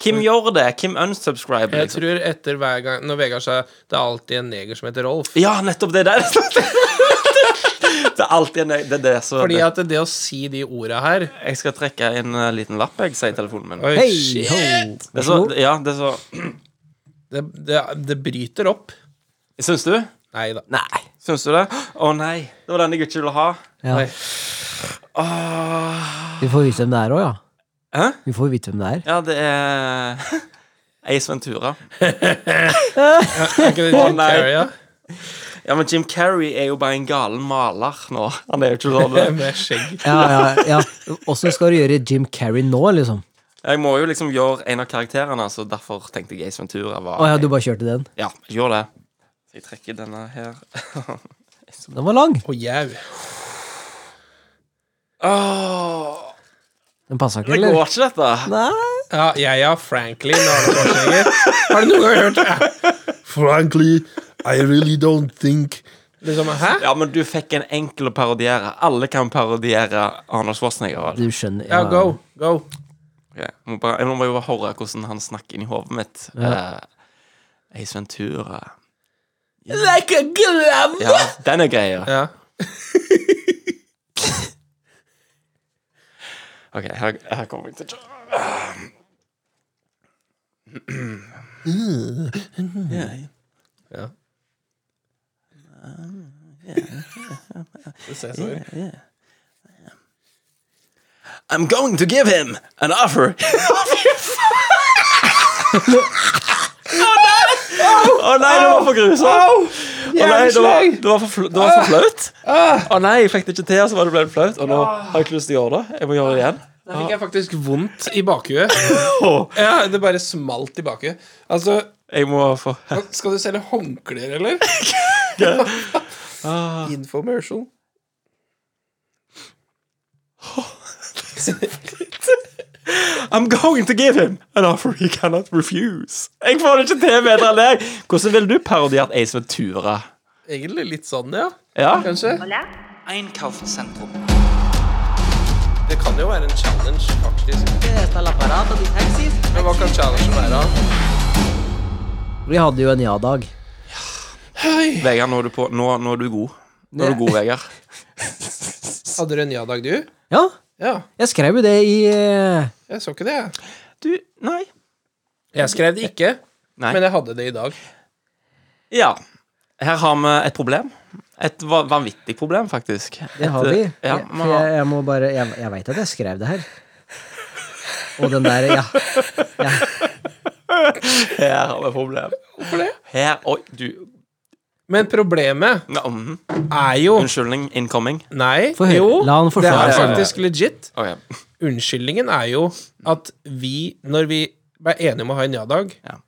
A: Hvem gjør det? Hvem unsubscriber?
D: Jeg
A: Liksom?
D: tror etter hver gang Når Vegard sa det er alltid en neger som heter Rolf
A: Ja, nettopp det (laughs) der. det er alltid en Det er det som
D: Fordi at det å si de orda her
A: Jeg skal trekke en eh, liten lapp, jeg, sier telefonen min.
D: Oi,
C: Hei,
D: shit,
C: ho.
A: Det er så, ja, det er så
D: det, det, det bryter opp.
A: Syns du?
D: Nei da.
C: Nei.
A: Syns du det? Å nei, det var den jeg ikke ville ha. Ah.
C: Ja.
D: Nei.
C: Vi får vite hvem det er òg, ja.
A: Hæ?
C: Vi får vite hvem det er.
A: Ja, det er (laughs) Ace Ventura.
D: Er ikke det Jim
A: nei.
D: Carrey, ja?
A: Ja, men Jim Carrey er jo bare en galen maler nå.
C: (laughs)
A: Han er jo ikke sånn.
D: Med skjegg.
C: Ja, ja, ja. Åssen skal du gjøre Jim Carrey nå, liksom?
A: Jeg må jo liksom gjøre en av karakterene, så derfor tenkte jeg Ace Ventura var
C: Å ja, du bare kjørte den.
A: Ja, jeg gjorde det. Så jeg trekker denne her.
C: Den var lang.
D: Å, jau.
A: Åh,
C: Den passa ikke,
A: det
C: (laughs) eller?
A: går ikke, dette.
C: Nei.
D: Ja, jeg ja, Franklin Arne Korsgjenger. Har du noen gang hørt det?
E: Frankly, I really don't think
D: Liksom, hæ?
A: Ja, men du fikk en enkel å parodiere. Alle kan parodiere Arnold Schwarzenegger. vel?
C: Du skjønner
D: Ja, go. Go.
A: Ok, Jeg må bare, jeg må bare høre hvordan han snakker inni hodet mitt. Eh, Ace Ventura.
D: Like a glove.
A: Ja, den er greia.
D: Ja.
A: (laughs) Ok, her, her kommer jeg til Ja, ja.
D: Ja.
A: I'm going to give him an offer. (laughs) Å nei! Å nei, det var for grusomt. Å nei, det var, det var for, fl- det var for flaut. Å nei, jeg fikk det ikke til, så var det ble det flaut. Og nå har jeg ikke lyst til å gjøre det. Jeg må gjøre det igjen.
D: Da fikk jeg faktisk vondt i
B: (laughs)
D: bakhuet. Ja, det bare smalt i bakhuet. Altså,
A: Jeg må få
D: skal du selge håndklær, eller? Infomercial.
A: I'm going to give him an offer he cannot refuse. Jeg får det ikke til bedre enn deg. Hvordan ville du parodiert Ace Ventura?
D: Egentlig litt sånn, ja.
A: Ja?
D: Kanskje.
G: Einkaufszentrum.
D: Det kan jo være en challenge, faktisk. Men hva kan challengen være?
C: Vi hadde jo en ja-dag.
A: Vegard, nå er du på. Nå, nå er du god. Nå er du god, Vegard.
D: Hadde du en ja-dag, du?
C: Ja,
D: Ja.
C: jeg skrev jo det i eh,
D: Jeg så ikke det, jeg.
A: Du, nei.
D: Jeg skrev det ikke,
A: Nei.
D: men jeg hadde det i dag.
A: Ja. Her har vi et problem. Et va- vanvittig problem, faktisk.
C: Det har
A: Et,
C: vi.
A: Ja,
C: Jeg-
A: vi
C: for
A: har-
C: jeg, jeg må bare Jeg, jeg veit at jeg skrev det her. Og den
A: (laughs)
C: der Ja.
A: her har vi et problem.
D: Hvorfor det?
A: Her Oi, du
D: Men problemet
A: Nå, mhm.
D: er jo
A: Unnskyldning incoming.
D: Nei,
C: Få høre.
D: jo.
C: La han
D: Det
C: forklare
D: er
A: seg.
D: faktisk legit.
A: Ok.
D: Unnskyldningen er jo at vi, når vi ble enige om å ha en ja-dag,
A: Ja.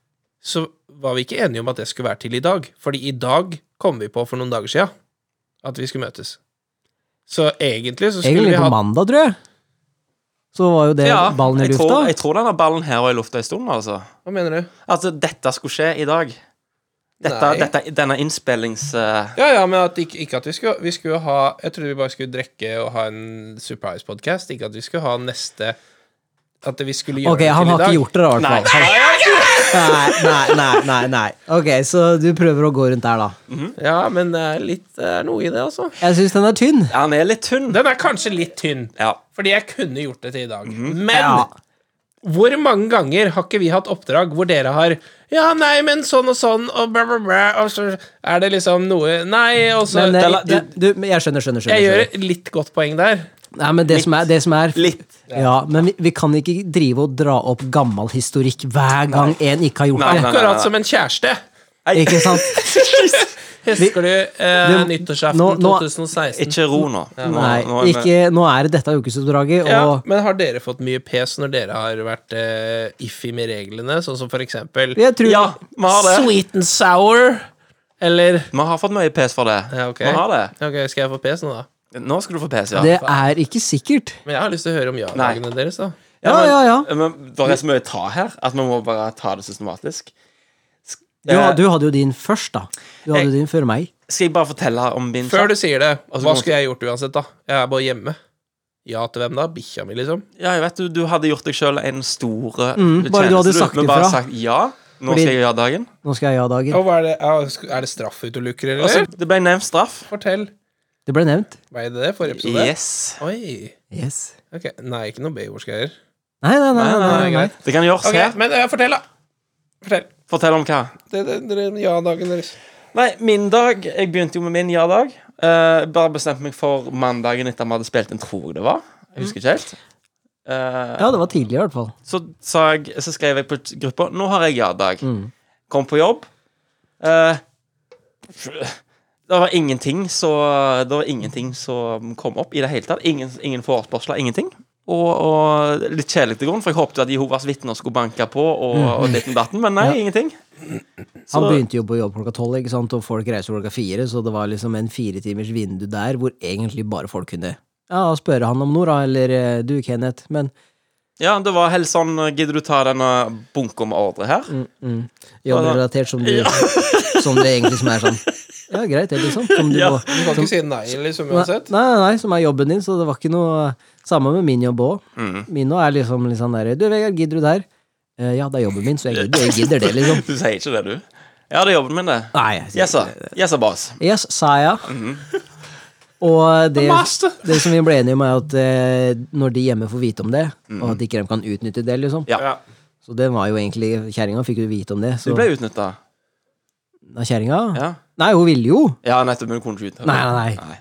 D: så var vi ikke enige om at det skulle være til i dag. Fordi i dag kom vi på for noen dager sia at vi skulle møtes. Så egentlig så skulle vi
C: Egentlig på
D: hatt
C: mandag, tror jeg. Så var jo det
A: Ja,
C: eh, ballen i
A: jeg tror,
C: lufta.
A: jeg tror denne ballen her var i lufta en stund, altså.
D: Hva mener du?
A: Altså, dette skulle skje i dag. Dette,
D: Nei.
A: dette, denne innspillings... eh,
D: Ja, ja, men at ikke, ikke at vi skulle Vi skulle ha Jeg trodde vi bare skulle drikke og ha en surprise-podkast. Ikke at vi skulle ha neste At vi skulle gjøre
C: Ok, han
D: det til i
C: har ikke
D: dag.
C: gjort det, da, i hvert fall. Nei, nei, nei, nei, nei. Ok, så du prøver å gå rundt der, da.
D: Ja, men det er litt det er noe i det, altså.
C: Jeg syns den er tynn.
A: Ja, han er litt tynn.
D: Den er kanskje litt tynn.
C: (laughs)
A: Ja.
D: Fordi jeg kunne gjort det til i dag. Men
C: Ja.
D: hvor mange ganger har ikke vi hatt oppdrag hvor dere har Ja, nei, men sånn og sånn, og bla, bla, bla, og så er det liksom noe Nei, og så
C: Men, eh,
D: Della-
C: du, du, men jeg skjønner, skjønner. skjønner,
D: Jeg gjør
C: skjønner.
D: et litt godt poeng der.
C: Nei, men det som er, det som er
A: Litt.
C: Ja, men vi, vi kan ikke drive og dra opp gammel historikk hver gang en ikke har gjort
A: Nei, nei,
D: Akkurat som en kjæreste.
C: det. Ikke sant?
D: Husker du eh,
C: det-
D: nyttårsaften
C: nå- nå-
D: 2016?
A: Ikke ro nå. Nå-
C: Nei,
A: nå er vi-
C: ikke, nå er det dette ukesoppdraget,
D: Ja,
C: og
D: men har dere fått mye pes når dere har vært eh, iffy med reglene, sånn som for eksempel
C: jeg tror
A: Ja, vi har det.
D: Sweet and sour? Eller
A: Vi har fått mye pes for det.
D: Ja, ok.
A: Vi har det.
D: Ok, skal jeg få pes nå, da?
A: Nå skal du få pes, ja.
C: det er ikke sikkert.
D: Men jeg har lyst til å høre om ja-dagene deres, da.
C: Ja,
A: men-
C: ja, ja.
A: Men det er så mye å ta her at vi må bare ta det systematisk. Sk-
C: Du,
A: eh,
C: ha- du hadde jo din først, da. Du hadde
A: Jeg-
C: din før meg.
A: Skal jeg bare fortelle om min
D: Før du sier det,
A: Altså,
D: hva
A: må-
D: skulle jeg gjort uansett, da? Jeg er bare hjemme. Ja til hvem da? Bikkja mi, liksom?
A: Ja, jeg vet du, du hadde gjort deg sjøl en stor eh,
C: Mm, bare du hadde
A: tjeneste,
C: sagt
A: men
C: det
A: bare
C: fra.
A: sagt ja. Nå
C: Fordi-
A: skal jeg gjøre dagen.
C: Nå skal jeg ja-dagen.
D: Og hva er det? ja, sk- Er det straff ute og lukker, eller?
A: Altså, det ble nevnt straff.
D: Fortell.
C: Det ble nevnt.
D: Var det det forrige episode?
A: Yes.
D: Oi.
C: Yes.
D: Ok, Nei, ikke noe Baywatch-greier.
C: Nei, nei, nei. nei, nei, nei.
D: greit.
A: Det kan gjøres
D: Ok,
A: her.
D: men eh, fortell, da. Fortell.
A: Fortell om hva.
D: Det, det, det, ja-dagen deres.
A: Nei, min dag Jeg begynte jo med min ja-dag. Eh, bare bestemte meg for mandagen etter at vi hadde spilt inn, tror jeg det var. Jeg husker ikke helt. Eh,
C: Ja, det var tidlig, i hvert fall.
A: så, sa jeg, så skrev jeg på gruppa Nå har jeg ja-dag. Kom på jobb. Eh, det var ingenting så Det var ingenting som kom opp i det hele tatt. Ingen, ingen forespørsler, ingenting. Og, og litt kjedelig til grunn, for jeg håpte jo at Jehovas vitner skulle banke på, og, og ditten og datten, men nei, ingenting.
C: Han
A: Så-
C: begynte jo på jobb klokka tolv, ikke sant, og folk reiser klokka fire, så det var liksom en fire timers vindu der hvor egentlig bare folk kunne ja, spørre han om noe, da, eller eh, du, Kenneth, men
A: Ja, det var helt sånn Gidder du ta denne bunken med ordre her?
C: jobbrelatert som du Som det egentlig som er sånn Ja, greit, det, liksom. Som du
A: Ja.
C: må
B: Du kan ikke si nei liksom
C: Nei,
B: uansett.
C: nei, nei, som er jobben din, så det var ikke noe Samme med min jobb òg.
A: Mm.
C: Min nå er liksom litt sånn derre Du, Vegard, gidder du der? Eh, ja, det er jobben min, så jeg gidder, jeg gidder det, liksom.
A: (laughs) Du sier ikke det, du. Ja, det er jobben min, det.
C: Nei, jeg sier
A: Yes, sir. Yes, sir, boss.
C: Yes, sa jeg.
A: Mhm.
C: Og det, det som vi ble enige om, er at eh, når de hjemme får vite om det, og at ikke de kan utnytte det, liksom
A: Mhm. Ja.
B: Ja.
C: Så det var jo egentlig Kjerringa fikk jo vite om det.
A: Du
C: Så
A: ble utnytta.
C: Nei, kjerringa
A: Ja.
C: Nei, hun ville jo!
A: ja, nettopp. Men du kunne ikke utnytta
C: Nei, nei, nei.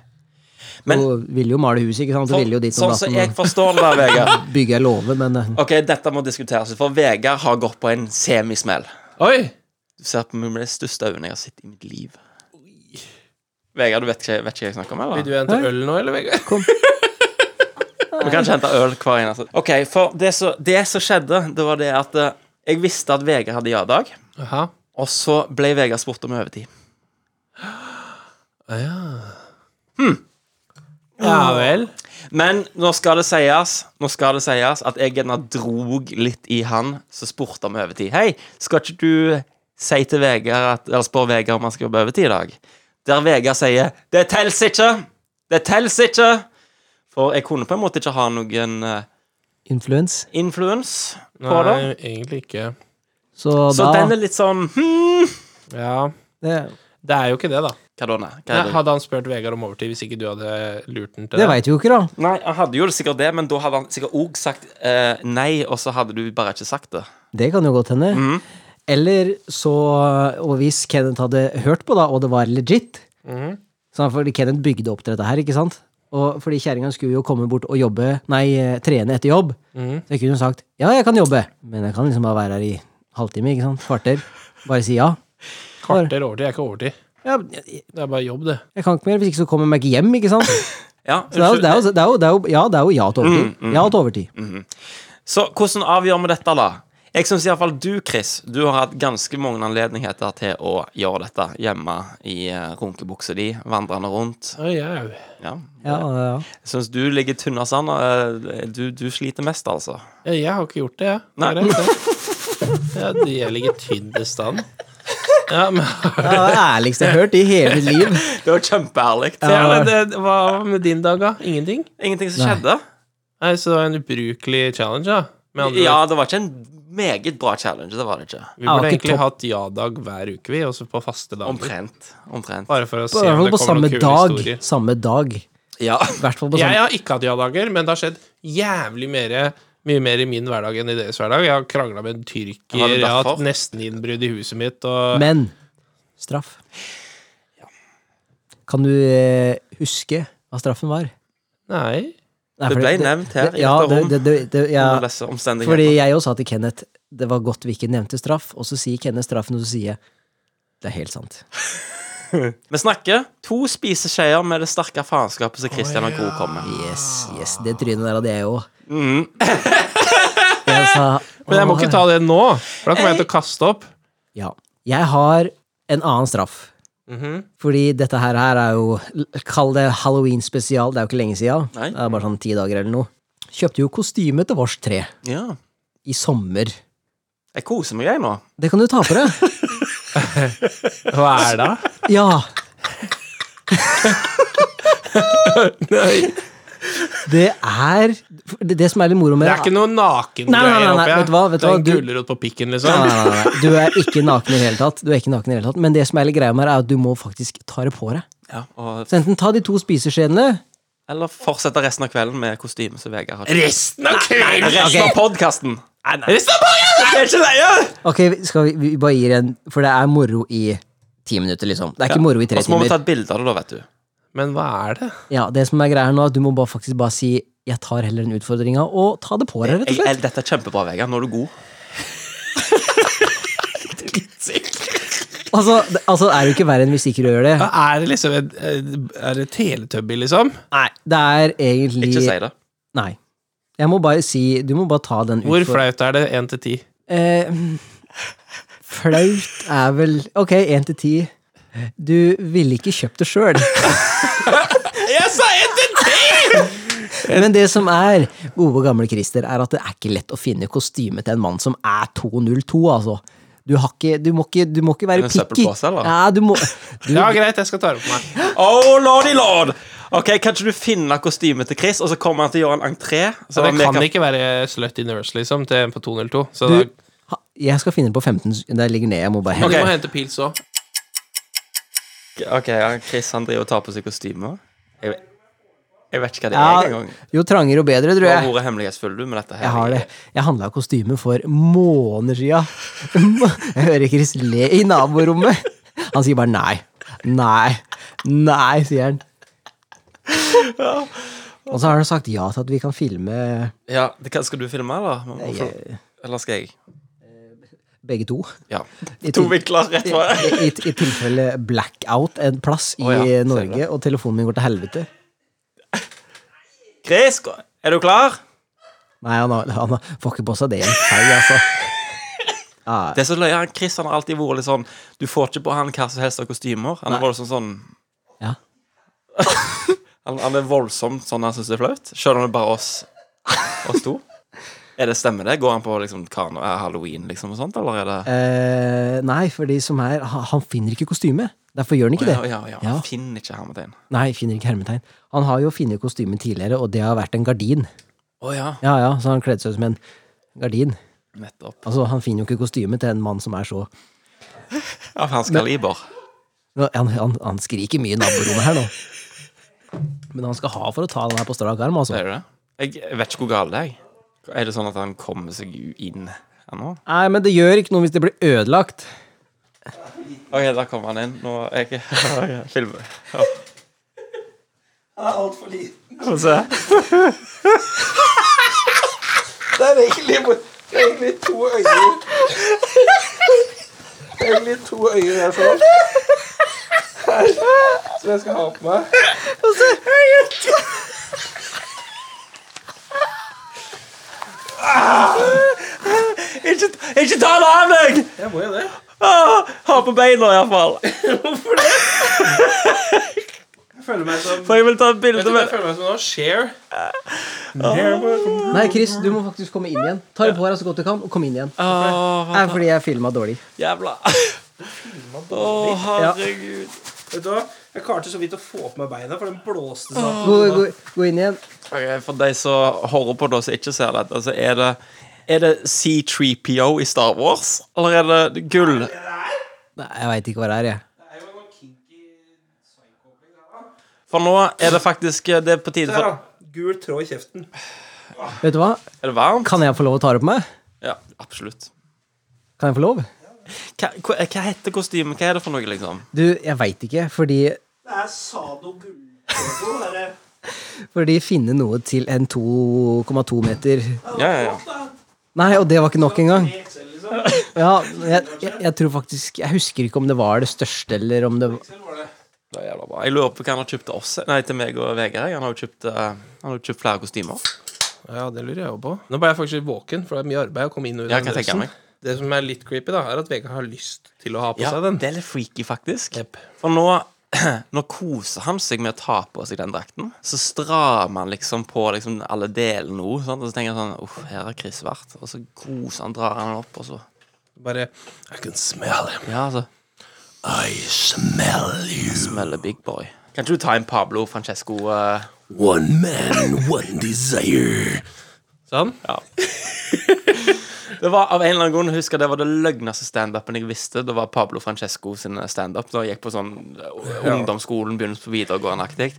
A: Men-
C: hun ville jo male huset, ikke sant? Hun ville jo dit og
A: sånn som jeg
C: datt
A: forstår det, da, Vegard
C: og bygge ei låve, men eh,
A: Ok, dette må diskuteres, for Vegard har gått på en semismell.
B: Oi!
A: Du ser på meg med de største øynene jeg har sett i mitt liv. Vegard, du vet ikke, vet ikke hva jeg snakker om?
B: Vil
A: eller?
B: du hente øl nå, eller, Vegard?
A: Vi kan ikke hente øl hver eneste Ok, for det som det som skjedde, det var det at eh, jeg visste at Vegard hadde ja-dag,
B: Aha.
A: og så ble Vegard spurt om overtid.
B: Ja vel.
A: Hm. Men nå skal det sies Nå skal det sies at jeg gjerne drog litt i han som spurte om overtid. Hei, skal ikke du si til Vegard at, eller spørre Vegard om han skal jobbe overtid i dag? Der Vegard sier 'Det tels ikke'! Det tels ikke! For jeg kunne på en måte ikke ha noen eh,
C: influens.
A: influens på det.
B: Nei, egentlig ikke.
C: Så,
A: Så
C: da
A: den er litt sånn hmm.
B: Ja.
C: det,
B: Det er jo ikke det, da.
A: Hva da, nei? Hva
B: Nei,
A: er det?
B: hadde han spurt Vegard om overtid hvis ikke du hadde lurt han til
C: det veit vi jo ikke, da.
A: Nei, han hadde jo sikkert det, men da hadde han sikkert òg sagt eh, nei, og så hadde du bare ikke sagt det.
C: Det kan jo godt hende. Eller så Og hvis Kenneth hadde hørt på, da, og det var legit
B: Mm.
C: så Fordi Kenneth bygde opp til dette her, ikke sant? Og fordi kjerringa skulle jo komme bort og jobbe, nei, eh, trene etter jobb.
B: Mm.
C: Så jeg kunne jo sagt ja, jeg kan jobbe, men jeg kan liksom bare være her i halvtime, ikke sant? Kvarter. Bare si ja.
B: Kvarter overtid er ikke overtid.
C: ja jeg,
B: Det er bare jobb, det.
C: jeg kan ikke mer, hvis ikke så kommer jeg meg ikke hjem, ikke sant?
A: Ja,
C: Så det er jo, det er jo, det er jo, det er jo, ja, det er jo ja til overtid. Ja til overtid.
A: Så hvordan avgjør vi dette, da? Jeg syns iallfall du, Chris, du har hatt ganske mange anledninger til å gjøre dette hjemme i eh, runkebuksa di, vandrende rundt.
B: Å, jau.
A: Ja.
C: Ja, ja, ja.
A: Jeg syns du ligger tynn av sand. og, eh, Du, du sliter mest, altså.
B: Ja, Jeg har ikke gjort det, jeg.
A: Nei.
B: Det er rett, det. Ja, de- jeg ligger tynn i stand. Ja,
D: (laughs)
B: men,
C: Det er det ærligste jeg har hørt i hele mitt liv.
A: (laughs)
B: (laughs)
A: Det var kjempeærlig.
B: ja, men det, hva med din dag, da? Ingenting?
A: Ingenting som skjedde.
B: Nei, Så det var en ubrukelig challenge, da. Med andre
A: Ja,
B: ord,
A: det var ikke en meget bra challenge. Det var det ikke.
B: vi burde
C: Ja, ikke
B: egentlig
C: topp.
B: hatt ja-dag hver uke, vi, også på faste dager.
A: Omtrent. Omtrent.
B: Bare for å se
C: I hvert
B: om
C: fall
B: det
C: på
B: kommer
C: samme
B: noen kule
C: dag. sånn.
B: historier.
C: Samme dag.
A: Ja.
C: I hvert fall på
B: Jeg
C: samme
B: har ikke hatt ja-dager, men det har skjedd jævlig mer mye mer i min hverdag enn i deres hverdag. Jeg har krangla med en tyrker,
A: Var det
B: jeg har hatt
A: derfor?
B: nesten innbrudd i huset mitt, og
C: Men straff. Kan du eh, huske hva straffen var?
B: Nei.
C: Nei,
A: Det
C: fordi
A: ble nevnt her i
C: Ja,
A: dette
C: det,
A: rom.
C: det, det, det, ja.
A: Under disse omstendighetene.
C: Fordi jeg også sa til Kenneth det var godt vi ikke nevnte straff, og så sier Kenneth straffen, og så sier jeg det er helt sant.
A: Vi snakker to spiseskjeer med det sterke faenskapet som Christian og Co. kommer med.
C: Yes, yes, Det trynet der hadde jeg òg. Jeg sa
B: Men jeg må
C: «Åh,
B: ikke ta det nå, for da kommer jeg til å kaste opp.
C: Ja. Jeg har en annen straff.
B: Mhm.
C: Fordi dette her, her er jo Kall det Halloween spesial, det er jo ikke lenge siden.
A: Nei.
C: Det er bare sånn ti dager eller noe. Kjøpte jo kostyme til vårs tre
A: Ja.
C: i sommer.
A: Jeg koser meg, jeg, nå.
C: Det kan du ta på deg.
B: (laughs) Hva er det?
C: Ja. Det er det, det som er litt moro
B: (laughs)
C: med
B: Det er ikke noe naken
C: Nei, nei, nei,
B: greier
C: nei,
B: oppi her.
C: vet du hva, vet du
B: det er
C: hva,
B: en
C: du-
B: gulrot på pikken,
C: Nei,
B: liksom.
C: nei, nei, nei. Du er ikke naken i det hele tatt. Du er ikke naken i det hele tatt. Men det som er litt greia med det, er at du må faktisk ta det på deg.
A: Ja, og,
C: Så enten ta de to spiseskjeene
A: eller fortsette resten av kvelden med kostyme som Vegard har.
B: Resten av kvelden!
A: Resten av podkasten!
B: Resten av kvelden!
A: Jeg er ikke leie!
C: Ok, skal vi, vi bare gir en For det er moro i ti minutter, liksom. Det er ikke moro i tre
A: Og så må vi ta
C: timer.
A: et bilde av det, da, vet du.
B: Men hva er det?
C: Ja, det som er greia her nå, er at du må bare faktisk bare si 'jeg tar heller den utfordringa', og ta det på deg, rett og
A: Jeg,
C: slett.
A: jeg, dette er kjempebra, Vegard. Nå er du god.
C: Altså, det, altså er det jo ikke verre enn hvis ikke du gjør det.
B: Hva er det liksom et, et- Er det Teletubby, liksom?
C: Nei, det er egentlig
A: Ikke si det.
C: Nei. Jeg må bare si Du må bare ta den ut
B: Hvor
C: for-
B: flaut er det? Én til ti?
C: Eh, flaut er vel Ok, én til ti. Du ville ikke kjøpt det sjøl.
B: Jeg sa én til ti!
C: Men det som er, gode gamle Christer, er at det er ikke lett å finne kostyme til en mann som er 202, altså. Du, har ikke, du, må, ikke, du må ikke
A: Er
C: være
A: det en
C: picky.
A: søppelpose, eller?
C: Ja, du
A: (laughs)
C: må, du,
B: Ja, greit, jeg skal ta det på meg.
A: Oh, lordy lord! Ok, Kan ikke du finne kostymet til Chris, og så kommer han til å gjøre en entré? Så
B: Så det
A: vi
B: kan ikke være slut in nurse, liksom, til en på 202. Så
C: du,
B: da,
C: ha, jeg skal finne på 15 Der ligger ned, jeg må bare
B: Men
A: Ok.
B: du må hente pils òg.
A: Ok, ja, Chris han driver og tar på seg kostymer. Jeg, vet- jeg vet ikke hva det er
C: ja,
A: engang.
C: Jo trangere og bedre,
A: Du
C: tror
A: har
C: jeg.
A: vært hemmelighetsfull du med dette her.
C: Jeg har det. Jeg handla kostyme for måneder sia. (laughs) Jeg hører Chris le i naborommet. Han sier bare nei. Nei. Nei, sier
A: (laughs)
C: han. Og så har han sagt ja til at vi kan filme
A: Ja, det kan, Skal du filme, eller? Må- må- Eller skal jeg?
C: begge to.
A: Ja.
C: I,
A: To
C: til-
A: vinkler rett på.
C: i, i, I tilfelle blackout en plass i
A: Å ja, ser
C: Norge, og telefonen min går til helvete.
A: Chris, gå- er du klar?
C: Nei, han, har- han har- får ikke på seg det igjen. Nei, altså.
A: Det er så løye, han Chris han har alltid vært litt sånn Du får ikke på han hva som helst av kostymer. Han er voldsomt sånn
C: Ja.
A: (laughs) han, han er voldsomt sånn han syns det er flaut. Selv om det er bare oss Oss to. Er det Stemmer det? Går han på liksom karne, eh, halloween liksom og sånt, eller er det
C: Eh, nei, for de som er Han, han finner ikke kostyme. Derfor gjør han ikke det.
A: Ja, ja, ja.
C: Ja.
A: Finn ikke hermetegn.
C: Nei, finner ikke hermetegn. Han har jo funnet kostyme tidligere, og det har vært en gardin.
A: Å ja.
C: Ja, ja, Så han kledde seg ut som en gardin.
A: Nettopp.
C: Altså, Han finner jo ikke kostyme til en mann som er så
A: Av hans kaliber.
C: Nå, han, han, han skriker mye i naborommet her nå. Men han skal ha for å ta den her på strak arm, altså.
A: Er det det? Jeg- Jeg vet ikke hvor gal det er. jeg. Er det sånn at han kommer seg u- inn ennå?
C: Nei, men det gjør ikke noe hvis det blir ødelagt.
A: OK, der kommer han inn. Nå er (laughs) jeg jeg filmer. Ja. Han er altfor liten. Få se. Ah! Ikke, ikke ta det av deg! Jeg må jo det. Ah, ha på beina, (laughs) iallfall.
B: Jeg føler meg som
A: For jeg vil ta et bilde med
B: føler meg som nå? Share?
C: Nei, Chris, du må faktisk komme inn igjen. Ta det på deg så godt du kan, og kom inn igjen.
A: Å,
C: Nei, fordi jeg filma dårlig.
A: jævla Å, herregud.
D: Vet du hva? Jeg klarte så vidt å få på meg beina, for den blåste seg.
C: Gå, gå, gå inn igjen.
A: Ok, For de som hører på det, som ikke ser dette, så er det Er det C3PO i Star Wars, eller er det gull?
C: Nei, jeg veit ikke hva det er, jeg.
A: For nå er det faktisk eh, Det er på tide
D: Der,
A: for
D: da. Gul tråd i kjeften.
C: Vet du hva?
A: Er det varmt?
C: Kan jeg få lov å ta det på meg?
A: Ja, absolutt.
C: Kan jeg få lov?
A: Hva, hva, hva heter kostymet? Hva er det for noe, liksom?
C: Du, jeg veit ikke, fordi
D: Det er Sado Gulltråd. det er-
C: Fordi finne noe til en 2,2 meter
A: Ja, ja, ja.
C: Nei, og det var ikke nok engang.
D: liksom.
C: Ja, jeg, jeg, jeg tror faktisk Jeg husker ikke om det var det største, eller om det var
A: Det er jævla bra. Jeg lurer på hva han har kjøpt til oss Nei, til meg og Vegard. Han har jo kjøpt, eh, han har jo kjøpt flere kostymer.
B: Ja, det lurer jeg òg på. Nå ble jeg faktisk litt våken, for det er mye arbeid å komme inn og ut
A: Ja,
B: av
A: kan jeg tenke
B: drøsen.
A: meg.
B: Det som er litt creepy, da, er at Vegard har lyst til å ha på
A: Ja,
B: seg den.
A: det er litt freaky, faktisk.
B: Jep.
A: For nå, (clears throat) nå koser han seg med å ta på seg den drakten. Så strammer han liksom på liksom alle delene òg. Og så tenker han sånn Uff, her har Chris vært. Og så koser han, drar han den opp, og så
B: Bare I can smell him.
A: Ja, altså.
E: I smell you.
A: Smeller big boy. Kan ikke du ta en Pablo Francesco eh?
E: One man, one desire.
B: Sånn.
A: Det var av en eller annen grunn, jeg husker det var det løgneste standupen jeg visste. Det var Pablo Francesco sin standup. Da jeg gikk på sånn eh, ungdomsskolen, begynnelsen på videregående-aktig.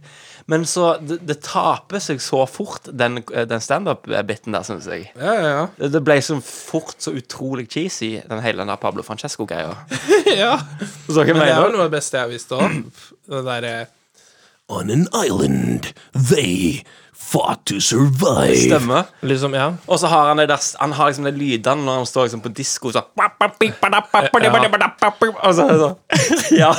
A: Men så det, det taper seg så fort, den, eh, den standup-biten der, syns jeg.
B: Ja, ja, ja.
A: Det, det ble så fort så utrolig cheesy, den hele den der Pablo
B: (laughs)
A: Francesco-greia.
B: ja.
A: Så hva
B: Men det er
A: mener
B: jo
A: du?
B: noe av det beste jeg visste òg. (clears throat) Det derre
E: On an island, they fought to survive.
A: Stemme.
B: Liksom, ja.
A: Og så har han det der Han har liksom de lydene når han står liksom på disko (laughs) sånn (laughs) Og så er det sånn Ja.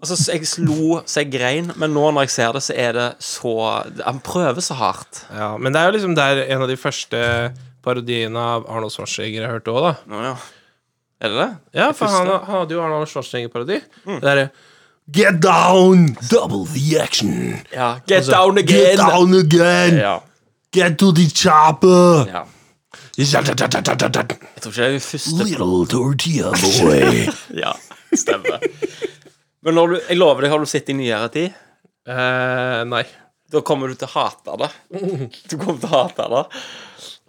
A: Altså, så jeg slo så jeg grein, men nå når jeg ser det, så er det så Han prøver så hardt.
B: Ja, men det er jo liksom der en av de første parodiene av Arnold Schwarzenegger jeg hørte òg, da.
A: Nå, ja. Er det det?
B: Ja, for han, han hadde jo Arnold Schwarzenegger-parodi. Det derre
E: Get down! Double the action!
A: Ja. Get down again!
E: Get down again!
A: Ja.
E: Get to the chopper!
A: ja.
E: Ja.
A: Jeg tror ikke det er den første
E: Little tortilla boy. (laughs)
A: Ja, stemmer. Men når du, jeg lover deg, har du sett det i nyere tid,
B: eh, Nei.
A: da kommer du til å hate (laughs) det. Du kommer til å hate det.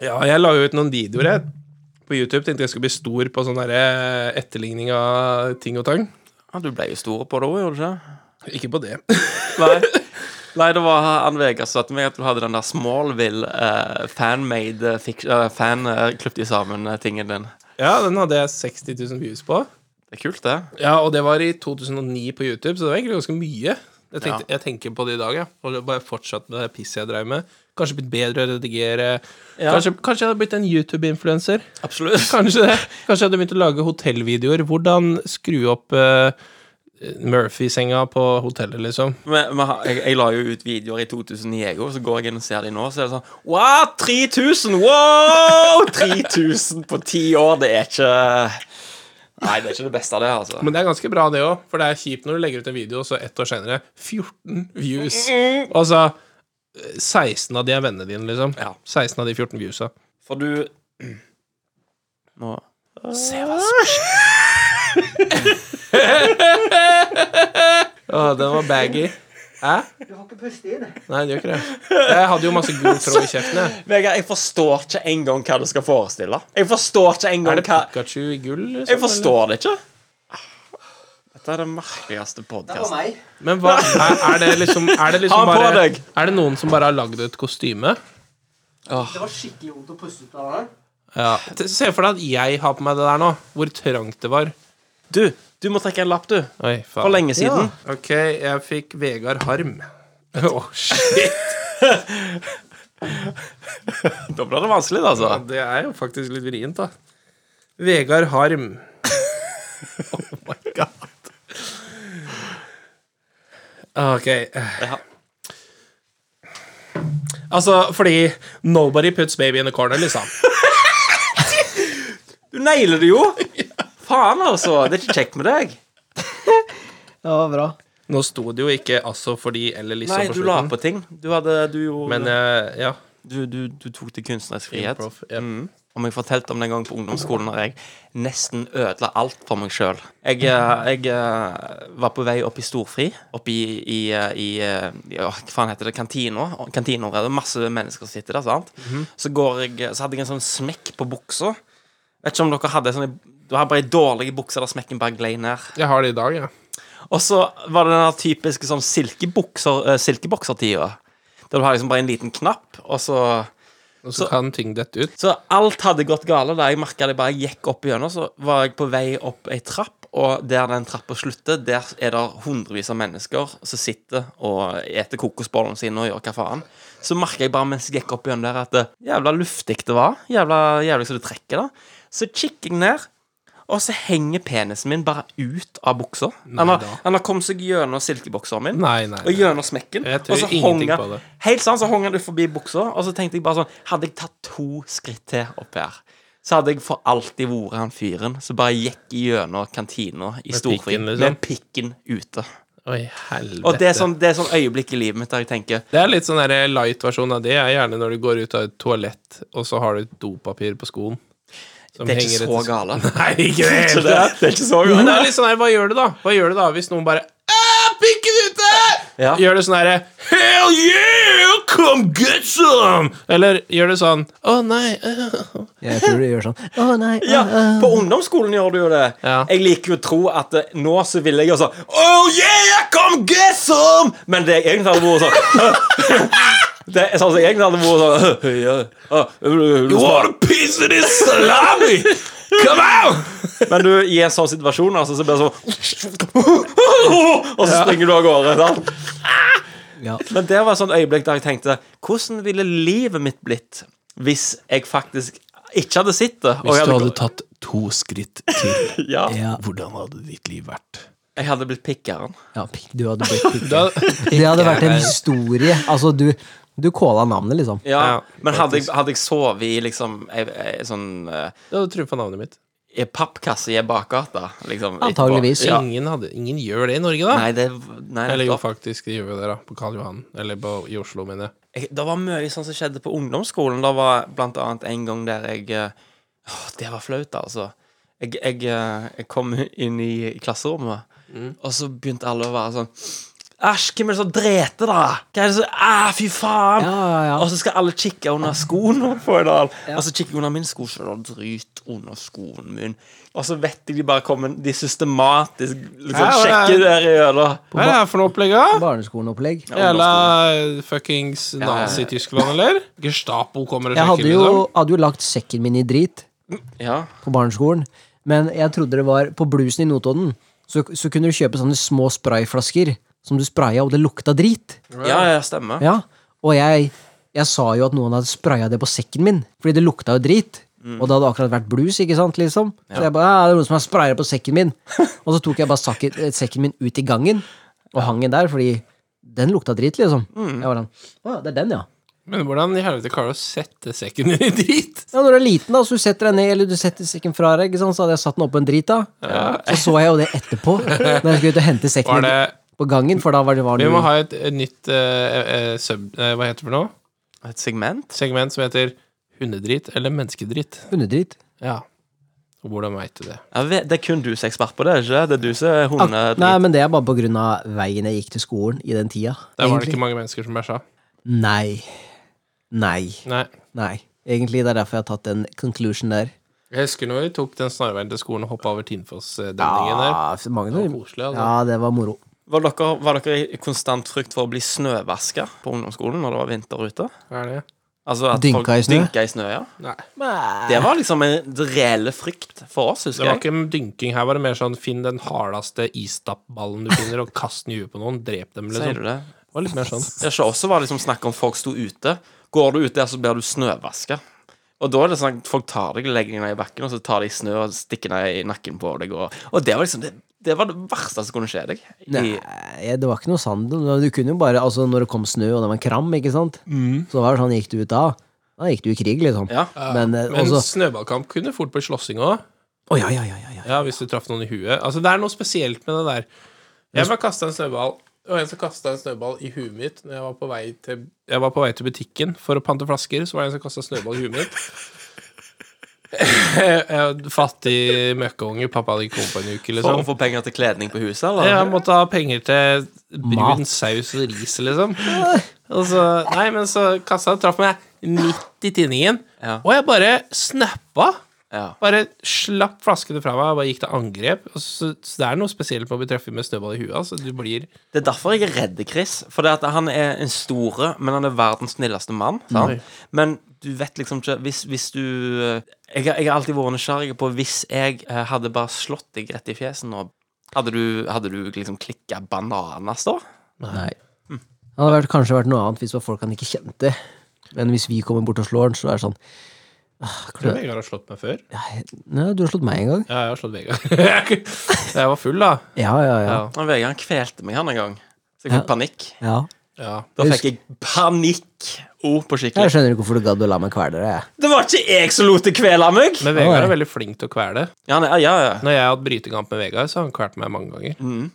B: Ja, jeg la jo ut noen videoer jeg, på YouTube. Tenkte jeg skulle bli stor på sånn derre etterligning av ting og tang.
A: Ja, du ble jo stor på det òg, gjorde du ikke?
B: Ikke på det.
A: Nei. Nei, det var Ann Vegard som sa til meg at du hadde den der Smallville eh, fanmade eh, fik- eh, fan eh, klippet i sammen-tingen din.
B: Ja, den hadde jeg 60 000 views på.
A: Det er kult, det.
B: Ja, og det var i 2009 på YouTube, så det var egentlig ganske mye. Jeg, tenkte, jeg tenker på det i dag, jeg. Og bare fortsatt med det pisset jeg drev med. Kanskje blitt bedre å redigere. Kanskje, kanskje jeg hadde blitt en YouTube-influenser.
A: Absolutt.
B: (laughs) Kanskje det. Kanskje jeg hadde begynt å lage hotellvideoer. Hvordan skru opp eh, Murphy-senga på hotellet, liksom.
A: Men, men jeg, jeg la jo ut videoer i 2009, jeg òg, så går jeg inn og ser de nå, så er det sånn Wow, 3000! Wow! 3000 på ti år, det er ikke Nei, det er ikke det beste av det, altså.
B: Men det er ganske bra, det òg, for det er kjipt når du legger ut en video, og så ett år senere 14 views.
A: (laughs)
B: Og så eh, 16 av de er vennene dine, liksom.
A: Ja.
B: 16 av de 14 viewsa.
A: For du Nå
B: Å, den var baggy. Hæ?
I: Du har ikke prestert det.
B: Nei, det gjør ikke det. Jeg hadde jo masse god tråd i kjeften. jeg.
A: Vegard, jeg forstår ikke engang hva du skal forestille. Jeg forstår ikke
B: Er
A: engang
B: det
A: hva
B: Pikachu i gull? Liksom,
A: Jeg forstår det ikke. Dette er den merkeligste podkasten.
I: meg.
B: eller? Men hva, er, er det liksom, er det
A: Ha
B: liksom
A: den på
B: bare
A: deg.
B: Er det noen som bare har lagd et kostyme?
I: Det var skikkelig vondt å puste ut av det her.
B: Ja. T- Se for deg at jeg har på meg det der nå. Hvor trangt det var.
A: Du, du må trekke en lapp, du.
B: Oi, faen.
A: For lenge siden.
B: Ok, jeg fikk Vegard Harm. Å, shit!
A: Da blir det vanskelig, altså.
B: Ja, det er jo faktisk litt vrient, da. Vegard Harm. oh my god. Ah, Ok. Altså, fordi Nobody puts baby in the corner, liksom.
A: Du nailer (laughs) det jo! Faen, altså. Det er ikke kjekt med deg.
C: Det var bra.
B: Nå sto det jo ikke 'altså fordi' eller liksom
A: Nei,
B: på
A: du la
B: slutten.
A: på ting. Du hadde Du gjorde
B: Men eh, ja.
A: du, du, du tok til kunstnerisk frihet.
B: Improv, ja.
A: Mm. Om jeg fortalte om den gangen på ungdomsskolen når jeg nesten ødela alt for meg sjøl. Jeg, eh, jeg eh, var på vei opp i storfri, opp i, i, eh, i eh, ja, Hva faen heter det? Kantina. Kantina det er masse mennesker som sitter der. sant?
B: Mhm.
A: Så går jeg, så hadde jeg en sånn smekk på buksa. Vet ikke om dere hadde sånn Du har bare ei dårlig bukse der smekken bare glei ned.
B: Jeg har det i dag, jeg. Ja.
A: Og så var det den der typiske sånn silkebukser, eh, silkeboksertida. Der du har liksom bare en liten knapp, og så
B: Og så kan ting dette ut.
A: så alt hadde gått gale da jeg merka det bare gikk opp igjennom. Så var jeg på vei opp ei trapp, og der den trappa slutter, der er det hundrevis av mennesker som sitter og eter kokosbollene sine og gjør hva faen. Så merka jeg bare mens jeg gikk opp igjennom der, at det jævla luftig det var. Jævla jævlig som det trekker, da. Så kikker jeg ned. Og så henger penisen min bare ut av buksa. Han har,
B: da.
A: han har kommet seg gjennom silkebokseren min.
B: Nei, nei,
A: Og
B: nei.
A: gjennom smekken.
B: Jeg tror
A: og så
B: ingenting
A: hang
B: på
A: han-
B: det.
A: Helt sånn, så hang han ut forbi buksa, og så tenkte jeg bare sånn Hadde jeg tatt to skritt til opp her, så hadde jeg for alltid vært han fyren som bare gikk gjennom kantina i storfri
B: pikken, liksom?
A: med pikken ute.
B: Oi, helvete.
A: Og det er, sånn, det er sånn øyeblikk i livet mitt der jeg tenker
B: Det er litt sånn der light-versjon av det. er Gjerne når du går ut av et toalett, og så har du et dopapir på skoen. som
A: Det er ikke så
B: henger etter-
A: gale.
B: Nei, ikke det
A: Så (laughs)
B: hele
A: det,
B: tatt.
A: det er ikke (laughs) så
B: Men det
A: gale.
B: er litt sånn her, hva gjør du da? Hva gjør du da Hvis noen bare «Æ, Pikken ute!
A: Ja.
B: Gjør du sånn herre Hell yeah! Come get some! Eller gjør du sånn Å nei. øh».
C: Jeg tror du gjør sånn. Å nei,
A: Ja,
C: å, å.
A: på ungdomsskolen gjør du jo det.
B: Ja.
A: Jeg liker jo å tro at eh, nå så ville jeg jo sånn Oh yeah, come get some! Men det jeg egentlig hadde vært sånn (laughs) Det er sånn som jeg egentlig hadde vært sånn ja, ah, vil du smake?
B: piece of this salami? Come on!
A: Men du, i en sånn situasjon altså, så blir det sånn (laughs) Og så springer du av gårde. Sant?
C: Ja.
A: Men det var et sånt øyeblikk der jeg tenkte Hvordan ville livet mitt blitt hvis jeg faktisk ikke hadde sett det? og jeg
B: Hvis du
A: hadde
B: hadde tatt to skritt til,
A: gått- ja.
C: Ja.
B: hvordan hadde ditt liv vært?
A: Jeg hadde blitt pikkeren.
C: Ja, pikk- du hadde blitt pikk.
D: Da,
C: (laughs) Det hadde vært en historie. Altså, du, du kåla navnet, liksom.
A: Ja,
D: Ja,
A: men hadde jeg, hadde jeg sovet i liksom ei, ei, sånn eh,
D: da hadde du trumfa navnet mitt.
A: i pappkasse i ei bakgate, liksom etterpå.
C: Antageligvis.
A: Ja.
D: Ingen, hadde, ingen gjør det i Norge, da.
A: Nei, det nei,
D: Eller jo,
A: nettopp.
D: faktisk. De gjør jo det, da. På Karl Johan. Eller på, i Oslo, mener jeg.
A: jeg, Det var mye sånn som skjedde på ungdomsskolen. Det var blant annet en gang der jeg eh, Åh, det var flaut, altså. Jeg, jeg, eh, jeg kom inn i klasserommet, og så begynte alle å være sånn Æsj, hvem er det som dreter, da? Hva er det som Æh, fy faen!
C: Ja, ja, ja.
A: Og så skal alle kikke under skoene (laughs) på en dag. Og så kikker jeg under min sko, så er det dryt under skoen min. Og så vet jeg de bare kommer De systematisk liksom
D: Ja, ja, ja.
A: sjekker der i øla.
D: Hva er det her for noe opplegg, da?
C: Barneskolenopplegg.
D: Jævla fuckings Nazi-Tyskland, eller? (laughs) Gestapo kommer og
C: Jeg hadde
D: sjekker,
C: jo,
D: liksom.
C: hadde jo lagt sekken min i drit
A: Ja.
C: på barneskolen, men jeg trodde det var på bluesen i Notodden. Så, så kunne du kjøpe sånne små sprayflasker som du spraya, og det lukta drit.
A: ja, ja, stemmer.
C: Ja, og jeg, jeg sa jo at noen hadde spraya det på sekken min, fordi det lukta jo drit.
D: Mm.
C: Og det hadde akkurat vært blues, ikke sant, liksom. Så jeg bare, ja, det er noen som har spraya på
D: (laughs)
C: sekken min. og så tok jeg bare sakken, eh, sekken min ut i gangen, og hang den der, fordi den lukta drit, liksom.
D: Mm.
C: Jeg var sånn, å, det er den, ja.
D: Men hvordan i helvete klarer du å sette sekken din i drit?
C: Ja, når du er liten, da, så du setter deg ned, eller du setter sekken fra deg, ikke sant, så hadde jeg satt den oppå en drit, da. Så så jeg jo det
D: (laughs)
C: etterpå, når jeg skulle ut og hente sekken
D: (laughs) Var
C: min
D: det-
C: på gangen, for da var det var
D: Vi
C: det
D: må
C: jo-
D: ha et, et nytt eh, eh, sub... eh, hva heter det for noe?
A: Et segment?
D: Segment som heter hundedrit eller menneskedrit.
C: hundedrit.
D: Ja. Og hvordan veit du det?
A: Jeg vet, det er kun du som er ekspert på det, ikke det? Det er du som er
C: Ak-
A: hundedrit.
C: Nei, men det er bare på grunn av veien jeg gikk til skolen i den tida.
D: Der var det
C: egentlig.
D: ikke mange mennesker som bæsja.
C: Nei. Nei.
D: Nei.
C: Nei. Egentlig det er derfor jeg har tatt den conclusion der.
D: Jeg husker når vi tok den snarveien til skolen og hoppa over Tinnfoss-demningen der.
C: for mange
D: Det var koselig, altså.
C: Ja, det var moro.
A: Var, dere, var dere i konstant frykt for å bli snøvaska på ungdomsskolen når det var vinter ute?
D: Hva er det?
A: Altså at
C: Dynka
A: folk
C: i snø?
A: Dynka i snø, ja.
D: Nei.
A: Det var liksom en reell frykt for oss,
D: Det
A: husker
D: var
A: jeg.
D: ikke dynking her, var det mer sånn finn den hardeste istappballen du finner, og kast den i huet på noen. Drep dem,
A: Sier du
D: liksom.
A: det?
D: Det var litt mer sånn.
A: Jeg ser også var det liksom snakk om folk sto ute. Går du ut der, så blir du snøvaska. Og da er det sånn at folk tar deg, legger deg ned i bakken, og så tar de snø og stikker ned i nakken på deg. Og, og det var liksom det, det var det verste som kunne skje deg. I,
C: Nei, Eh, det var ikke noe sandel. men Du kunne jo bare, altså Når det kom snø og det var en kram, ikke sant, så var det sånn gikk du ut da. Da gikk du i krig, liksom.
A: Ja.
C: Men, eh,
D: Men
C: også
D: snøballkamp kunne fort bli slåssing òg.
C: Å, ja, ja, ja, ja, ja.
D: Ja, hvis du traff noen i huet. Altså, det er noe spesielt med det der. Jeg bare kasta en snøball. Og en som kasta en snøball i huet mitt Når jeg var på vei til Jeg var på vei til butikken for å pante flasker. Så var det en som kasta snøball i huet mitt. (laughs) Jeg- Fattig møkkeunge. Pappa hadde ikke kommet på en uke,
A: for å
D: liksom.
A: få penger til kledning på huset, eller?
D: Jeg måtte ha penger til brun
C: Mat.
D: saus og ris, liksom. Og så, nei, men så kassa traff meg midt i tinningen,
A: Ja.
D: og jeg bare snappa.
A: Ja.
D: Bare slapp flaskene fra meg og bare gikk til angrep. Og så, så det er noe spesielt med å bli truffet med snøball i huet. Altså. Du blir
A: Det er derfor jeg er redd Chris. For det at han er en store, men han er verdens snilleste mann. Sant? Men du vet liksom ikke Hvis, hvis du eh, jeg, har- jeg har alltid vært nysgjerrig på Hvis jeg eh, hadde bare slått deg rett i fjesen nå, hadde du, hadde du liksom klikka bananas da?
C: Nei. Det hadde vært, kanskje vært noe annet hvis det var folk han ikke kjente. Men hvis vi kommer bort og slår han, så er det sånn ah,
D: Tror du
C: klø-
D: Vegard har slått meg før? Ja,
C: Nei, Du har slått meg en gang.
D: jeg har slått Vegard. (laughs) jeg var full, da.
C: Ja, ja, ja.
D: Ja.
A: Han Vegard han kvelte meg han en gang. Så jeg fikk panikk.
C: ja.
D: Ja.
A: Da fikk jeg panikk oh, på
C: Jeg
A: skikkelig.
C: skjønner ikke hvorfor du gadd å la meg kvele deg. jeg.
A: Det var ikke jeg som lot deg kvele meg!
D: Men Vegard er veldig flink til å kvele.
A: Ja, nei, ja, ja.
D: Når jeg har hatt brytekamp med Vegard, så har han kvalt meg mange ganger.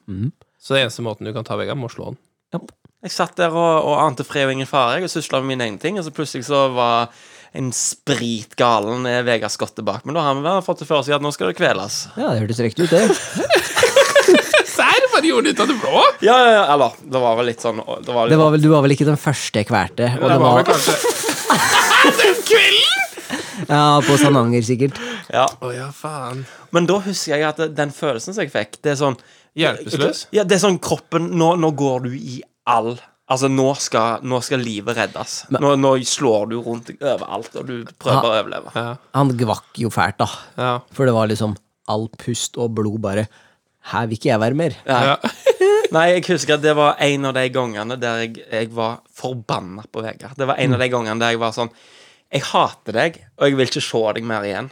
D: Så det eneste måten du kan ta Vegard, må slå han.
A: Jeg satt der og, og ante fred og ingen fare. Jeg og sysla med mine egne ting. Og så plutselig så var en spritgalen eh, Vegard Skotte bak. Men da har vi vel fått det for oss i at nå skal det kveles.
C: Ja, det hørtes riktig ut, det.
D: Serr, hva gjorde du ut av det blå?
A: Ja, ja, ja. Eller det var vel litt sånn Det var,
C: Det
A: litt,
C: var vel, du var vel ikke den første jeg kvalte? Og det var, ja, på Stavanger, sikkert.
A: ja.
D: Å ja, faen.
A: Men da husker jeg at det- den følelsen som jeg fikk, det er sånn
D: Hjelpeløs?
A: Ja, det er sånn kroppen Nå, nå går du i all Altså, nå skal, nå skal livet reddes. Nå, nå slår du rundt overalt, og du prøver å overleve.
C: Han gvakk jo fælt, da.
D: Ja.
C: For det var liksom all pust og blod bare Her vil ikke jeg være mer.
D: ja.
A: Nei, jeg husker at det var en av de gangene der jeg, jeg var forbanna på Vegard. Det var en av de gangene der jeg var sånn Jeg hater deg, og jeg vil ikke se deg mer igjen.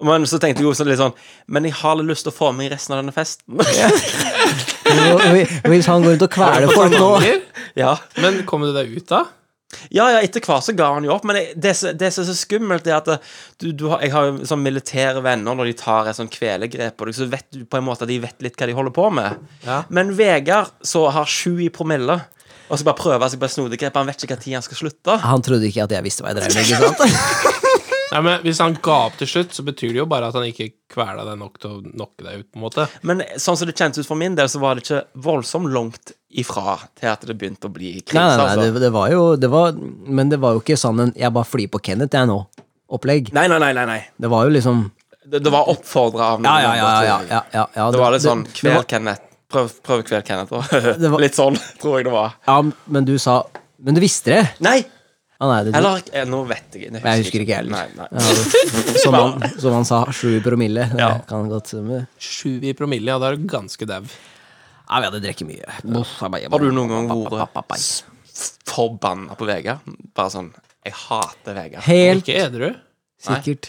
A: Men så tenkte jeg også litt sånn Men jeg har litt lyst til å få med i resten av denne festen.
C: (laughs)
A: (laughs)
C: Og- og Hvis han går rundt og kveler folk nå
D: Stavanger?
A: Ja.
D: Men kom du deg ut da?
A: Ja, ja, etter hvert så ga han jo opp, men jeg- det, som- det som er så skummelt, er at eh, du, du har, jeg har jo sånn militære venner, når de tar et sånn kvelegrep på deg, så vet du på en måte at de vet litt hva de holder på med.
D: Ja.
A: Men Vegard, så har sju i promille, og så bare prøver seg på et snodig grep, han vet ikke hva tid han skal slutte.
C: Han trodde ikke at jeg visste hva jeg drev med. (laughs) ikke sant?
D: Nei, men Hvis han ga opp til slutt, så betyr det jo bare at han ikke kvela deg nok til å knocke deg ut. på en måte
A: Men sånn som det kjentes ut for min del, så var det ikke voldsomt langt ifra til at det begynte å bli krise.
C: Nei, nei, nei,
A: altså.
C: det, det var jo det var, Men det var jo ikke sånn en 'jeg bare flyr på Kenneth, jeg nå'. Opplegg.
A: nei, nei, nei, nei, nei.
C: Det var jo liksom
A: Det, det var oppfordra av noen.
C: Ja, ja,
A: andre
C: ja.
A: til-
C: ja, ja, ja, ja
A: Det var litt sånn
C: det
A: Kvel
C: var-
A: Kenneth. Prøv, prøv kvel Kenneth. og-
C: (laughs) Det var-
A: Litt sånn, tror jeg det var.
C: Ja, men du sa Men du visste det?
A: Nei!
C: Ja, nei, det, du,
A: Eller eh, Nå vet jeg ikke.
C: Nei, jeg husker ikke jeg heller.
A: Nei, nei.
C: Ja, det- som, han, som han sa, sju promille. Det
A: Ja.
C: Kan godt stemme.
D: Sju i promille, ja, da er du ganske dau.
C: Ja, vi hadde drukket mye.
A: Har du noen gang vært s- s- forbanna på Vegard? Bare sånn Jeg hater Vegard.
C: Helt
D: Ikke edru.
C: sikkert.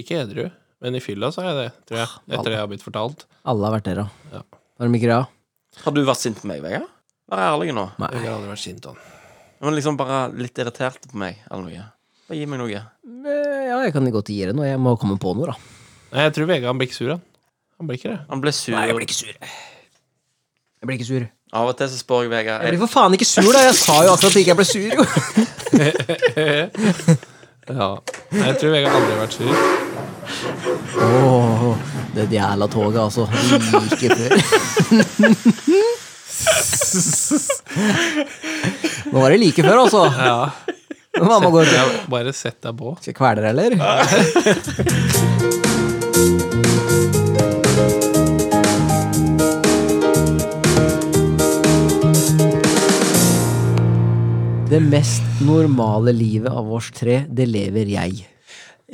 D: Ikke edru. Men i fylla så er jeg det, tror
C: Ah,
D: jeg. Etter det jeg har blitt fortalt.
C: Alle har vært der, da.
D: Ja.
C: Har de ikke det? da?
A: Har du vært sint på meg, Vegard? Vær ærlig nå.
D: Jeg har aldri vært sint han.
A: Men liksom bare litt irritert på meg eller noe. Bare gi meg noe.
C: Eh, Ja, jeg kan godt gi deg noe. Jeg må komme på noe, da.
D: Nei, jeg tror Vegard han blir ikke sur, han. Han blir ikke det.
A: Han ble sur.
C: ikke sur. Jeg blir ikke sur.
A: Av og til så spør jeg Vegard
C: Jeg
A: jeg,
C: blir for faen ikke sur, da! Jeg sa jo akkurat at jeg ikke ble sur, jo.
D: Ja. Nei, jeg tror Vegard aldri har vært sur.
C: Åh, det jævla toget, altså. Like før. Nå var det like før, altså.
D: Ja.
C: Mamma går til
D: Jeg bare sett deg på.
C: Skal jeg kvele deg, eller? (laughs) Det mest normale livet av oss tre, det lever jeg.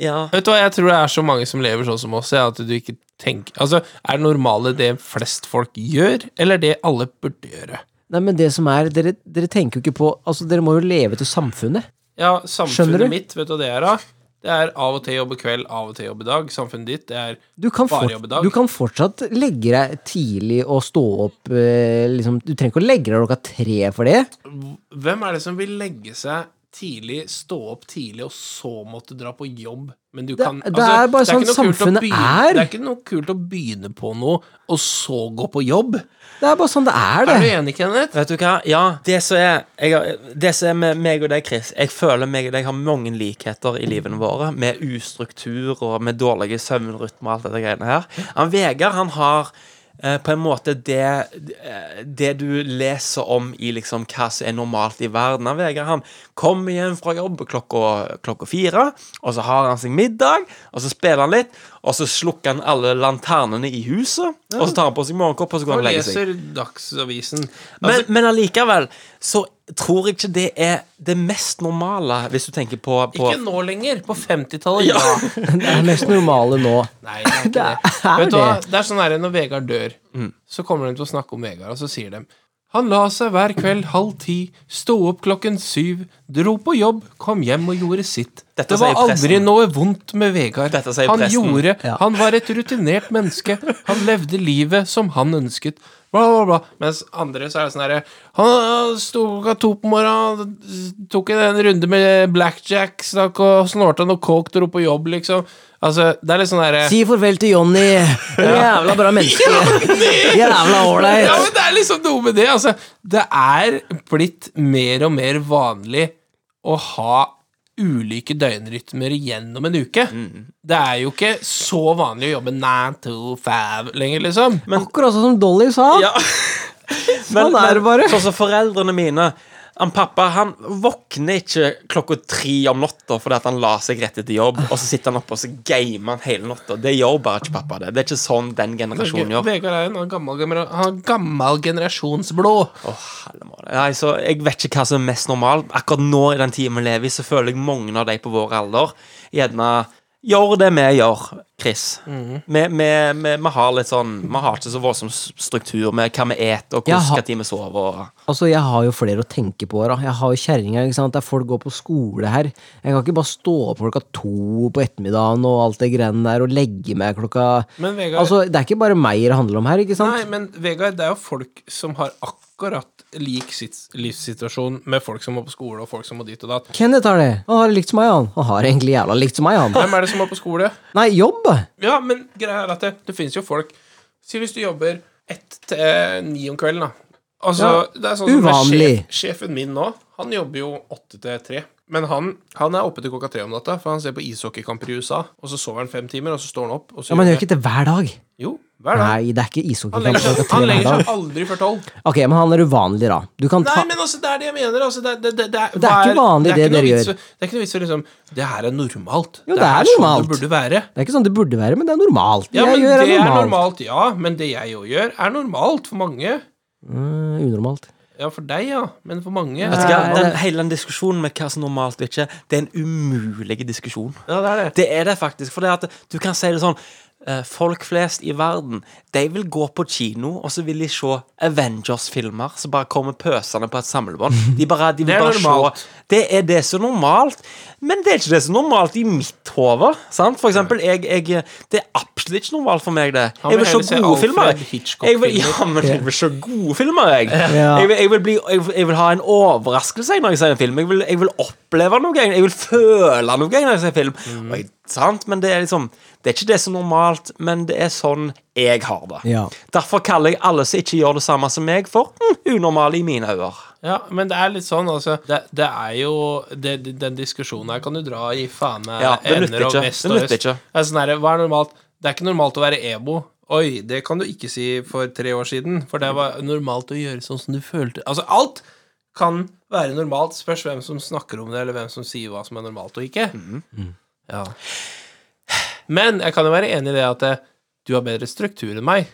A: Ja.
D: Vet du hva, jeg tror det er så mange som lever sånn som oss, ja, at du ikke tenker Altså, er det normale det flest folk gjør, eller det alle burde gjøre?
C: Nei, men det som er, dere, dere tenker jo ikke på Altså, dere må jo leve til samfunnet.
D: Ja,
C: Skjønner du?
D: samfunnet mitt, vet du hva det er, da? Det er av og til jobbe kveld, av og til jobbe dag. Samfunnet ditt, det er
C: Du kan,
D: Bare
C: fort,
D: jobbe dag.
C: du kan fortsatt legge deg tidlig og stå opp eh, liksom, Du trenger ikke å legge deg klokka tre for det.
D: Hvem er det som vil legge seg tidlig, stå opp tidlig, og så måtte dra på jobb? Men du
C: Det-
D: kan altså,
C: det er bare
D: ikke
C: sånn
D: noe kult å
C: samfunnet
D: begynne-
C: er.
D: Det er ikke noe kult å begynne på noe, og så gå på jobb.
C: Det er bare sånn det er, det.
D: Er du enig, Kenneth?
A: Vet du hva? Ja, det som er, jeg, har- det som er med meg og deg, Chris Jeg føler meg og deg har mange likheter i livene våre. Med ustruktur og med dårlige søvnrytmer og alt dette greiene her. Han Vegard, han har eh, på en måte det, eh, det du leser om i liksom hva som er normalt i verden. Han Vegard han kommer hjem fra jobb klokka, klokka fire, og så har han sin middag, og så spiller han litt, og så slukker han alle lanternene i huset, og så tar han på seg morgenkopp, og så går
D: Og
A: han og legger seg.
D: leser Dagsavisen.
A: Men, men allikevel så tror jeg ikke det er det mest normale, hvis du tenker på, på
D: Ikke nå lenger. På 50-tallet, ja.
C: Det er mest normale nå.
D: Nei, det er
C: (laughs)
D: ikke det.
C: Er
D: Vet du
C: det?
D: hva, det er sånn her når Vegard dør,
A: Mm.
D: så kommer de til å snakke om Vegard, og så sier de han la seg hver kveld halv ti, sto opp klokken syv, dro på jobb, kom hjem og gjorde sitt.
A: Dette
D: det var
A: sier presten.
D: aldri noe vondt med Vegard.
A: Dette sier
D: han
A: presten.
D: gjorde
C: Ja.
D: Han var et rutinert menneske. Han levde livet som han ønsket. Bla, bla, bla. Mens andre så er det sånn herre Han sto klokka to på morgenen, tok en runde med blackjack, stakk og snorta noe coke, dro på jobb, liksom. Altså, det er litt sånn herre
C: Si farvel til Jonny. Jævla bra menneske. Jævla
D: Ja,
C: ålreit.
D: men det er liksom noe med det. Altså, det er blitt mer og mer vanlig å ha ulike døgnrytmer gjennom en uke.
C: Mm.
D: Det er jo ikke så vanlig å jobbe nine to five lenger, liksom.
C: Akkurat sånn som Dolly sa.
A: Ja. Men,
C: Sånn er det bare.
A: men sånn som foreldrene mine han Pappa han våkner ikke klokka tre om natta fordi at han la seg rett etter jobb, og så sitter han oppe og så gamer han hele natta. Det gjør bare ikke pappa. Det Det er ikke sånn den generasjonen gjør.
D: Vegard er en annen gammel, genera han er gammel generasjonsblå.
A: Åh, hellemål. Nei, så Jeg vet ikke hva som er mest normal. Akkurat nå i den tiden vi lever i, så føler jeg mange av de på vår alder gjerne gjør det vi gjør. Chris.
B: Mhm.
A: Vi, vi, vi, vi har litt sånn Vi har ikke så voldsom s- struktur med hva vi eter, og
C: Jeg
A: hvordan
C: har-
A: skal vi sove. Og...
C: Altså, Jeg har jo flere å tenke på. Da. Jeg har jo kjerringa. ikke sant? Der folk går på skole her. Jeg kan ikke bare stå opp klokka to på ettermiddagen og alt det greiene der og legge meg klokka
B: Men Vegard-
C: Altså, Det er ikke bare meg det handler om her, ikke sant?
B: Nei, men Vegard, det er jo folk som har akkurat lik sits- livssituasjon med folk som må på skole, og folk som må dit og datt.
C: Kenneth har det. Han har det likt som meg, han. Han har egentlig jævla likt som meg, han.
B: Hvem er det som må på skole?
C: Nei, jobb!
B: Ja, men greia er at det, det finnes jo folk Si hvis du jobber ett til eh, ni om kvelden, da. Altså, det er sånn som det er
C: uvanlig.
B: Sjef, sjefen min nå, han jobber jo åtte til tre. Men han, han er oppe til klokka tre om natta, for han ser på ishockeykamper i USA. Og så sover han fem timer, og så står han opp. Og så
C: Ja, Men
B: gjør
C: gjør ikke det hver dag.
B: Jo, hver dag.
C: Nei, det er ikke
B: Han legger,
C: ishockeykamp klokka
B: seg,
C: tre
B: han
C: hver
B: legger
C: dag.
B: seg aldri før tolv.
C: Ok, men han er uvanlig, da. Du kan ta
B: Nei, men altså, det er det jeg mener. Altså, det, det, det, det,
C: Det er ikke vanlig
B: det er ikke
C: det
B: noe
C: dere
B: vits
C: gjør.
B: å- Det er ikke noe vits i liksom Det her er normalt.
C: Jo, det er
B: sånn
C: normalt.
B: det burde være.
C: Det er ikke sånn det burde være, men det er normalt.
B: Ja, men
C: jeg gjør
B: det
C: det
B: er
C: normalt.
B: normalt, ja. Men det jeg jo gjør, er normalt for mange.
C: Mm, unormalt.
B: Ja, for deg, ja. Men for mange
A: Vet
B: Ja,
A: du hva?
C: Nei.
A: Den, hele den diskusjonen med hva som er normalt og ikke, det er en umulig diskusjon.
B: det er det.
A: Det er det faktisk. For det at du kan si det sånn eh, Folk flest i verden De vil gå på kino, og så vil de se Avengers-filmer som bare kommer pøsende på et
B: (laughs)
A: samlebånd. De bare, de vil
B: Det er
A: bare
B: normalt.
A: se Det er det som er normalt. Men det er ikke det som er normalt i mitt hode. sant? For eksempel, jeg, jeg, det er absolutt ikke normalt for meg, det.
B: Han
A: Jeg
B: vil
A: vil
B: heller se
A: se gode
B: Alfred
A: filmer. Jeg vil,
B: Hitchcock-filmer.
A: ja, men jeg vil se gode filmer, jeg.
C: Ja.
A: Jeg, vil, jeg, vil bli, jeg, vil- jeg vil ha en overraskelse jeg, når jeg ser en film. Jeg vil, jeg vil oppleve noe. Jeg vil føle noe når jeg ser film. Og jeg, sant? Men det er liksom Det er ikke det som er normalt, men det er sånn jeg har det.
C: Ja.
A: Derfor kaller jeg alle som ikke gjør det samme som meg, for hm, unormale i mine øyne.
B: Ja, men det er litt sånn, altså. Det, det er jo det, det- Den diskusjonen her kan du dra i faen meg
A: Ja, det nytter
B: evner og
A: ikke.
B: vest
A: Det
B: og
A: nytter
B: øst.
A: ikke.
B: Det er sånn her, hva er normalt? Det er ikke normalt å være ebo. Oi, det kan du ikke si for tre år siden, for det var normalt å gjøre sånn som du følte Altså, alt kan være normalt. Spørs hvem som snakker om det, eller hvem som sier hva som er normalt og ikke.
A: Mm-hmm.
B: Ja. Men jeg kan jo være enig i det at eh, du har bedre struktur enn meg.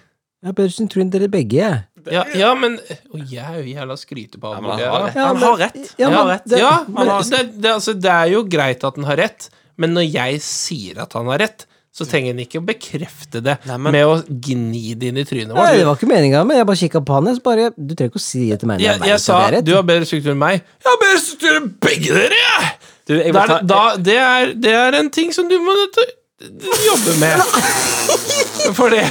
C: Jeg er bedre struktur enn dere begge. jeg.
B: Ja, ja men Og jeg er jo jævla skrytepave.
A: men han
B: jeg,
A: har
B: da.
A: rett.
C: Ja,
A: han
C: men-
A: har rett.
C: ja,
A: han
C: men
A: har rett.
C: det-
B: Ja,
A: han
B: men
A: har-
B: det, det, altså, det er jo greit at den har rett, men når jeg sier at han har rett, så trenger han ikke å bekrefte det
A: Nei, men-
B: med å gni det inn i trynet
C: Nei, det
B: vårt.
C: var ikke meninga, men jeg bare kikka på han. Jeg, så bare, du trenger ikke å si det til meg. når
B: Jeg,
C: vet
B: jeg
C: at
B: sa
C: det er rett.
B: du har bedre struktur enn meg. Jeg har bedre struktur enn begge dere! jeg!
A: Du, jeg vil
B: Da er
A: ta,
B: det- da, det, er, det er en ting som du må nødt til å jobbe med. For det,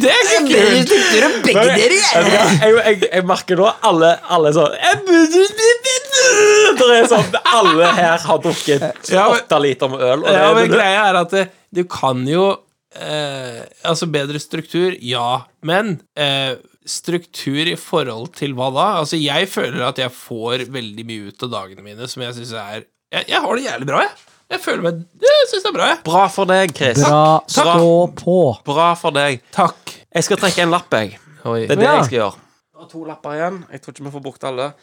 B: det er ikke
C: Bedre
B: kult.
C: struktur enn begge dere, jeg.
A: Vet du hva? jeg, jeg, jeg merker nå alle, alle sånn «Jeg burde bli bedre!» Det er sånn Alle her har drukket
B: Ja, men-
A: åtte liter med øl. Og det,
B: Ja, men greia er at det, du kan jo eh, Altså, bedre struktur, ja, men eh, Struktur i forhold til hva da? Altså, jeg føler at jeg får veldig mye ut av dagene mine som jeg syns er jeg, jeg har det jævlig bra, jeg. Jeg føler meg Jeg syns det er bra, jeg.
A: bra for deg, Chris.
C: Bra.
A: Takk.
C: Stå på.
A: Bra for deg.
B: Takk.
A: Jeg skal trekke en lapp, jeg.
B: Oi.
A: Det er det
C: Ja.
A: jeg skal gjøre. Jeg har to lapper igjen. Jeg tror ikke vi får brukt alle.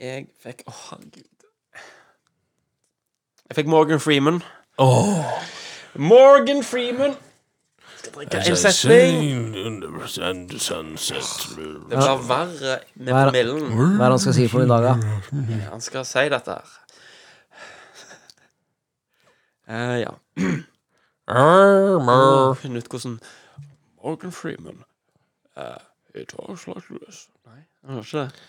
A: Jeg fikk Å, herregud. Jeg fikk Morgan Freeman. Morgan Freeman! Jeg skal trekke en setning. Det blir verre med
C: Hva er-
A: promillen.
C: Hva er det han skal si for noen dager?
A: Han skal si dette her. Eh, ja. Må Finne ut hvordan Morgan Freeman eh, He talks like this. Nei, han gjør ikke det.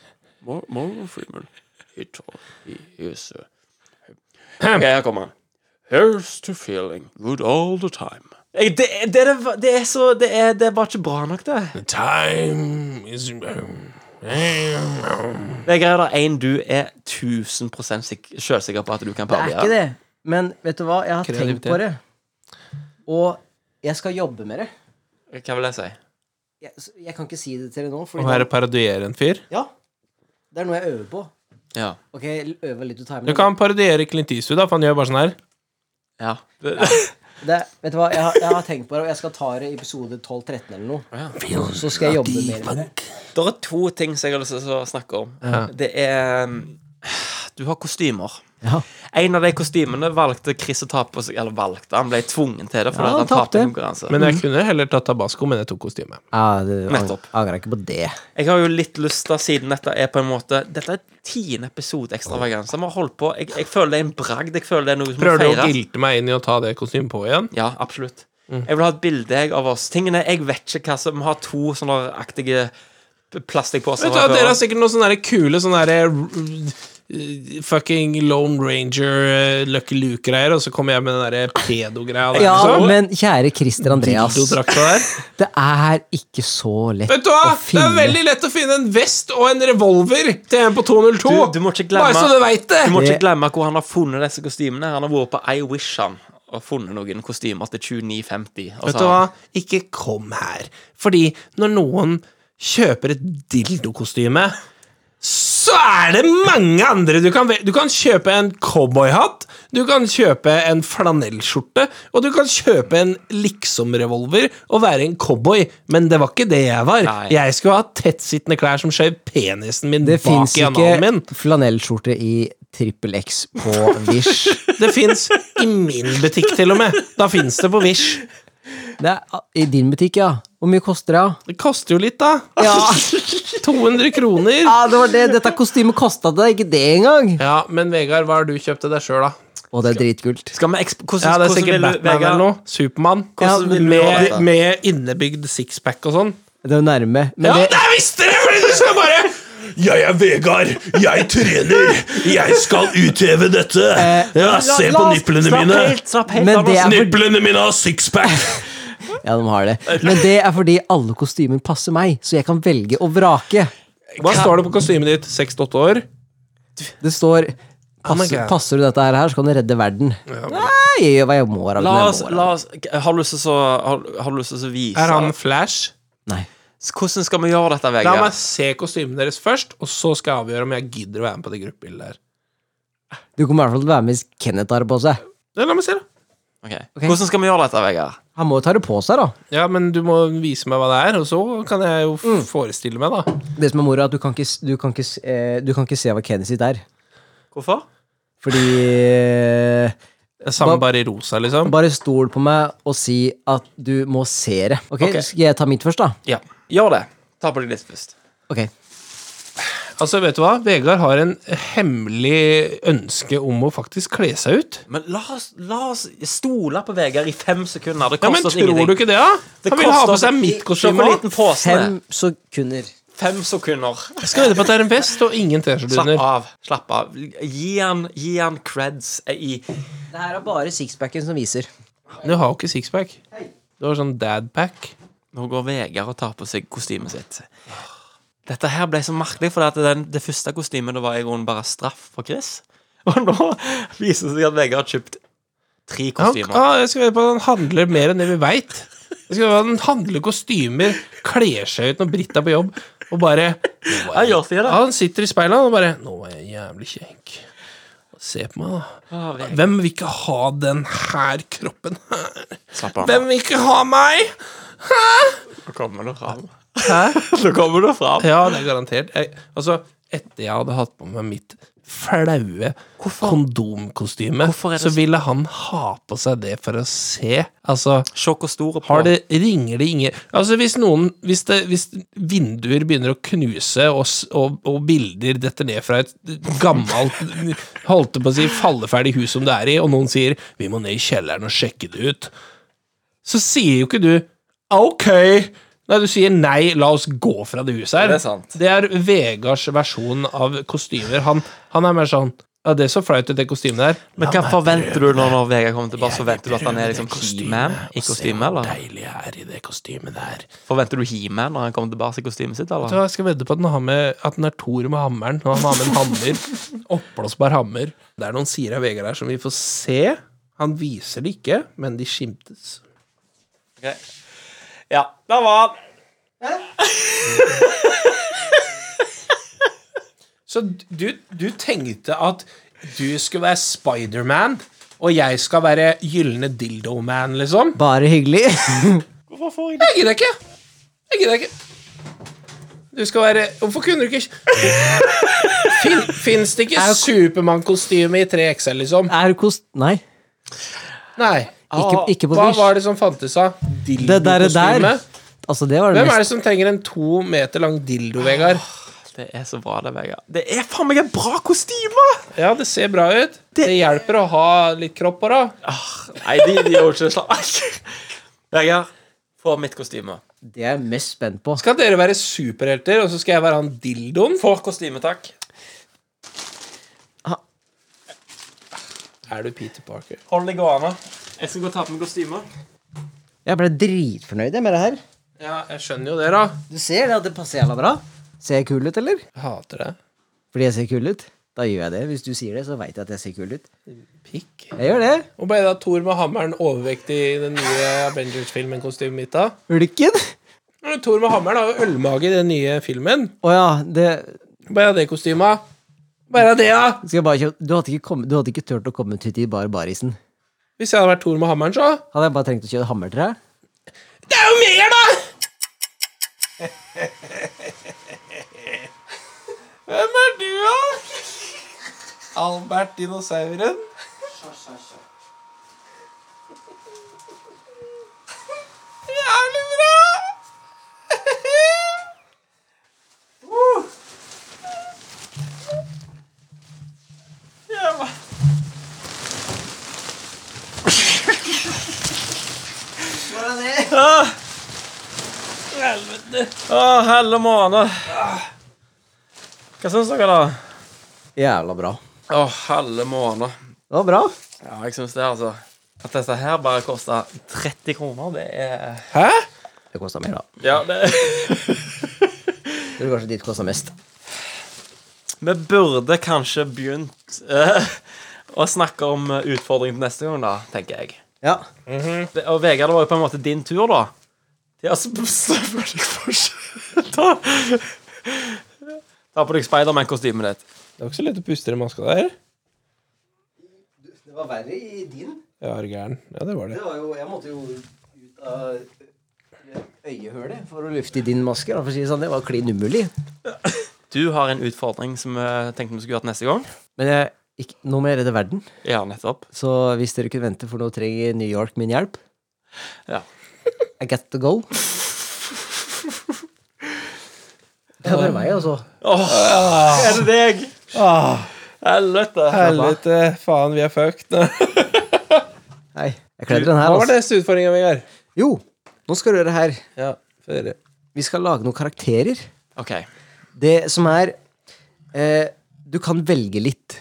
A: Mor Morgan Freeman He talks He he is a Ok, her kommer han. Here's to feeling good all the time. Jeg, det, det, det, det er så det er, det er bare ikke bra nok, det.
B: Time is
A: Det er greier der én du er 1000 sik sjølsikker på at du kan
C: Det er
A: parodiere.
C: ikke det. Men vet du hva, jeg har tenkt
B: Kreativitet.
C: på det. Og jeg skal jobbe med det.
A: Hva vil jeg si?
C: Jeg, så jeg kan ikke si det til dere nå.
B: Å
C: Fordi
B: være
C: det,
B: parodiere en fyr?
C: ja, det er noe jeg øver på.
A: Ja.
C: Ok, jeg øver litt å ta
B: Du kan parodiere Clint Eastwood, da, for han gjør bare sånn her.
A: ja.
C: det, Vet du hva, jeg, har- jeg har tenkt på det, og jeg skal ta det i episode 12-13 eller noe. Så skal jeg jobbe mer med det.
A: Det er to ting som jeg har lyst til å snakke om. Det er um, Du har kostymer.
C: Ja.
A: En av de kostymene valgte Chris å ta på seg. Eller valgte, han ble tvungen til det fordi
C: Ja,
A: at
C: han
A: han tapte
C: tapte.
A: en konkurranse.
B: Men jeg kunne heller tatt tabasco, men jeg tok kostyme.
C: Ja, du
A: Nettopp.
C: angrer ikke på det.
A: Jeg har jo litt lyst til, siden dette er på en måte Dette er tiende episode ekstravaganse. Vi har holdt på. Jeg, jeg føler det er en bragd. Jeg føler det er noe som må
B: Prøver du å
A: feires.
B: gilte meg inn i å ta det kostymet på igjen?
A: Ja, absolutt.
B: Mm.
A: Jeg vil ha et bilde jeg, av oss. Tingene, Jeg vet ikke hva som Vi har to sånne aktige plastikkposer.
B: Vet du
A: fra
B: hva, Dere
A: før.
B: har sikkert noen sånne der kule sånne der, eh, fucking Lone Ranger, eh, Lucky Luke-greier, og så kommer jeg med den derre pedo-greia. der,
C: Ja,
B: liksom.
C: men kjære Christer Andreas,
B: Dildodrakta der.
C: det er ikke så lett
B: Vet du hva?
C: å
B: Det
C: finne
B: er veldig lett å finne en vest og en revolver til en på 202.
A: Du- du må ikke glemme-
B: Bare så du veit det.
A: Du må
C: Det-
A: ikke glemme hvor han har funnet disse kostymene. Han har vært på I Wish han og funnet noen kostymer til Altså, 29,50. og så
B: Vet du
A: har
B: hva?
A: han-
B: Ikke kom her. Fordi når noen kjøper et dildokostyme, så er det mange andre. Du kan, vel- du kan kjøpe en cowboyhatt, du kan kjøpe en flanellskjorte, og du kan kjøpe en liksom-revolver og være en cowboy. Men det var ikke det jeg var.
A: Nei.
B: Jeg skulle ha tettsittende klær som skjøv penisen min
C: Det fins
B: bak i analen min.
C: ikke flanellskjorte i trippel X på Wish.
B: (laughs) Det fins i min butikk, til og med. Da fins det på Wish.
C: Det er I din butikk, ja. Hvor mye koster det? da?
B: Det koster jo litt, da. 200 kroner.
C: Ja, det var det. Dette kostymet kosta deg ikke det engang!
B: Ja, men Vegard, hva har du kjøpt til deg sjøl, da?
C: Og det er dritkult.
A: Skal vi eksp... Hvordan,
B: Ja, det er
A: hvordan
B: sikkert
A: vil du,
B: Batman
A: Vegard?
B: eller noe. Supermann.
A: Hvordan vil du gjøre
B: med,
A: dette?
B: med innebygd sixpack og sånn.
C: Det er jo nærme. Men
B: Ja,
C: det,
B: der visste dere! Fordi du skal bare
E: Jeg er Vegard. Jeg trener. Jeg skal utheve dette.
C: Eh,
E: Ja, se på nipplene
A: Slapp
E: mine.
A: helt, slapp helt
C: Men
A: av nå.
C: det er-
E: Nipplene mine har sixpack.
C: ja, de
A: (laughs)
C: har det. Men det er fordi alle kostymer passer meg, så jeg kan velge og vrake.
B: Hva står det på kostymet ditt? 6-8 år?
C: Det står
B: my
C: Passer,
B: God.
C: passer du dette her, så kan du redde verden. Nei, jeg gjør hva jeg må. Ragnhild,
A: La
C: jeg
A: oss,
C: må,
A: la oss Har du lyst til å så- har, har du lyst til å så vise
B: Er han Flash?
C: Nei.
A: Hvordan skal vi gjøre dette,
B: La meg
A: Vegard?
B: se kostymene deres først, og så skal jeg avgjøre om jeg gidder å være med på det gruppebildet der.
C: Du kommer i hvert fall til å være med hvis Kenneth har det på seg.
B: Ja, La meg se, da.
A: Ok.
C: Ok.
A: Hvordan skal vi gjøre dette, Vegard?
C: Han må jo ta det på seg, da.
B: Ja, men du må vise meg hva det er, og så kan jeg jo
A: Mm.
B: f- forestille meg, da.
C: Det som er moro, er at du kan ikke, s- du kan ikke, s- eh, du kan ikke se hva Kenneth sitt er.
A: Hvorfor?
C: Fordi eh,
B: Det er Samme
C: Ba-
B: bare i rosa, liksom.
C: Bare stol på meg og si at du må se det. Ok,
A: Ok.
C: Skal jeg ta mitt først, da?
A: Ja. Gjør det. Ta på deg litt først.
C: Ok.
B: Altså, vet du hva? Vegard har en hemmelig ønske om å faktisk kle seg ut.
A: Men la oss, la oss stole på Vegard i fem sekunder. Det
B: Ja, men
A: koster oss
B: tror
A: ingenting.
B: du ikke det, da?
A: Det
B: Han vil ha
A: koster
B: på
A: oss-
B: seg mitt kostyme.
A: Se hvor
B: også.
A: liten posen er.
C: Fem sekunder.
A: Fem sekunder.
B: Jeg skal vedde på at det er en vest og ingen T-skjorte
A: Slapp
B: under.
A: av. slapp av Gi han, gi han creds i
C: Det her er bare sixpacken som viser.
B: Du har jo ikke sixpack. Du har sånn dadpack.
A: Nå går Vegard og tar på seg kostymet sitt. Dette her ble så merkelig, for det, den, det første kostymet det var i grunnen bare straff for Chris. (laughs) Og nå viser det seg at Vegard har kjøpt tre
B: Ja,
A: kostymer.
B: ah, jeg skal vedde på at han handler mer enn det vi veit. Han handler kostymer, kler seg ut når Britt er på jobb, og bare
A: Ja, gjør det,
B: Ja,
A: da.
B: han sitter i speilet og bare 'Nå var jeg jævlig kjekk'. Se på meg, da.
A: Ah,
B: Hvem vil ikke ha den her kroppen her?
A: Slapp av.
B: Hvem vil ikke ha meg?
A: Nå kommer du fram. Nå kommer du fram.
B: Ja, det er garantert. Jeg, altså, etter jeg hadde hatt på meg mitt flaue kondomkostyme,
A: Hvorfor er det
B: så
A: så-
B: ville han ha på seg det for å se. Altså
A: Se hvor stor
B: Har det, ringer det ingen Altså Hvis noen Hvis, det, hvis vinduer begynner å knuse, og, s- og, og bilder detter ned fra et gammelt Holdt jeg på å si falleferdig hus som det er i, og noen sier 'Vi må ned i kjelleren og sjekke det ut', så sier jo ikke du 'ok'. Nei, du sier 'nei, la oss gå fra det huset her'.
A: Det er sant.
B: Det er Vegards versjon av kostymer. Han, han er mer sånn ja, Det er så flaut ut, det kostymet der.
A: Men hva forventer du nå når Vegard kommer tilbake? Så venter du at han er liksom He-Man i kostyme, eller?
B: Deilig her i det kostymet der.
A: Forventer du He-Man når han kommer tilbake i kostymet sitt,
B: Vet du
A: eller?
B: hva, Jeg skal vedde på at den har med At den er Thor med hammeren. Og han har med en (laughs) hammer. Oppblåsbar hammer. Det er noen sider av Vegard her som vi får se. Han viser det ikke, men de skimtes.
A: Ja, der var han.
B: (laughs) Så du, du tenkte at du skulle være Spiderman, og jeg skal være Gylne Dildoman, liksom?
C: Bare hyggelig. (laughs)
B: Jeg gidder ikke! Jeg gidder ikke. Du skal være Hvorfor kunne du ikke fin, Fins det ikke Supermann-kostyme i 3XL, liksom?
C: Er kost... Nei.
B: Nei.
A: Ah.
C: Ikke, ikke på
B: Ah, Hva
C: Wish.
B: var det som fantes av
C: Det der, det der.
B: dildokostyme?
C: Altså, det var det
B: Hvem er
C: mest
B: det som trenger en to meter lang dildo, Vegard?
A: Det er så bra, det, Vegard. Det er faen meg et bra kostyme!
B: Ja, det ser bra ut. Det hjelper å ha litt kropp på det.
A: Nei, de, de er jo ikke slapp. (laughs) Vegard, få mitt kostyme.
C: Det jeg er mest spent på.
B: Skal dere være superhelter, og så skal jeg være han dildoen?
A: Få kostyme, takk.
B: Er du Peter Parker?
A: Hold det gående. Jeg skal gå og ta på meg kostyme.
C: Jeg ble dritfornøyd jeg, med det her.
B: Ja, jeg skjønner jo det, da.
C: Du ser det at det passer jævla bra. Ser jeg kul ut, eller?
B: Jeg hater det.
C: Fordi jeg ser kul ut? Da gjør jeg det. Hvis du sier det, så veit jeg at jeg ser kul ut.
B: Pikk.
C: Jeg gjør det.
B: Og ble da Thor med hammeren overvektig i den nye Avengers-filmen kostymet mitt, da?
C: Ulken?
B: Men Thor med hammeren har jo ølmage i den nye filmen.
C: Å ja, det
B: Bare det kostymet. Bare det, da!
C: skal jeg bare kjøpe. Du hadde ikke, kommet, du hadde ikke turt å komme ut hit i bare barisen.
B: Hvis jeg hadde vært Thor med hammeren, så
C: Hadde jeg bare trengt å kjøre hammertre?
B: Det er jo mer, da! Hvem er du, da? Albert dinosauren? Jævlig bra!
A: Å, helle måne. Hva syns dere, da?
C: Jævla bra.
A: Å, helle måne.
C: Det var bra.
A: Ja, jeg syns det, altså. At dette her bare kosta 30 kroner, det er
B: Hæ?
C: Det kosta mer, da.
A: Ja, det
C: Det var kanskje ditt kosta mest.
A: Vi burde kanskje begynt eh, å snakke om eh, utfordringen til neste gang, da, tenker jeg.
C: Ja.
A: Ve- Og Vegard, det var jo på en måte din tur, da. Ja, så bestemmer deg for Ta Ta på deg Spiderman-kostymet ditt.
B: Det var ikke så lett å puste i den maska der.
C: Det var verre i din.
B: Ja, er du gæren. Ja, det var det.
C: var jo, jeg måtte jo ut av øyehølet for å lufte i din maske. Da, for å si det sånn. Det var klin umulig.
A: Du har en utfordring som vi tenkte vi skulle gjøre til neste gang.
C: Men jeg, ikke, nå må jeg redde verden,
A: Ja, nettopp.
C: så hvis dere kunne vente, for nå trenger New York min hjelp.
A: Ja.
C: I got to go. Det var meg, altså.
A: Er det deg? Helvete.
B: Helvete, eh, faen, vi er fucked. (laughs) Hva
C: Nei, jeg kledde den her.
B: var
C: Altså.
B: neste utfordring vi gjør?
C: Jo, nå skal du høre her.
B: Ja, for
C: Vi skal lage noen karakterer.
A: OK.
C: Det som er eh, Du kan velge litt.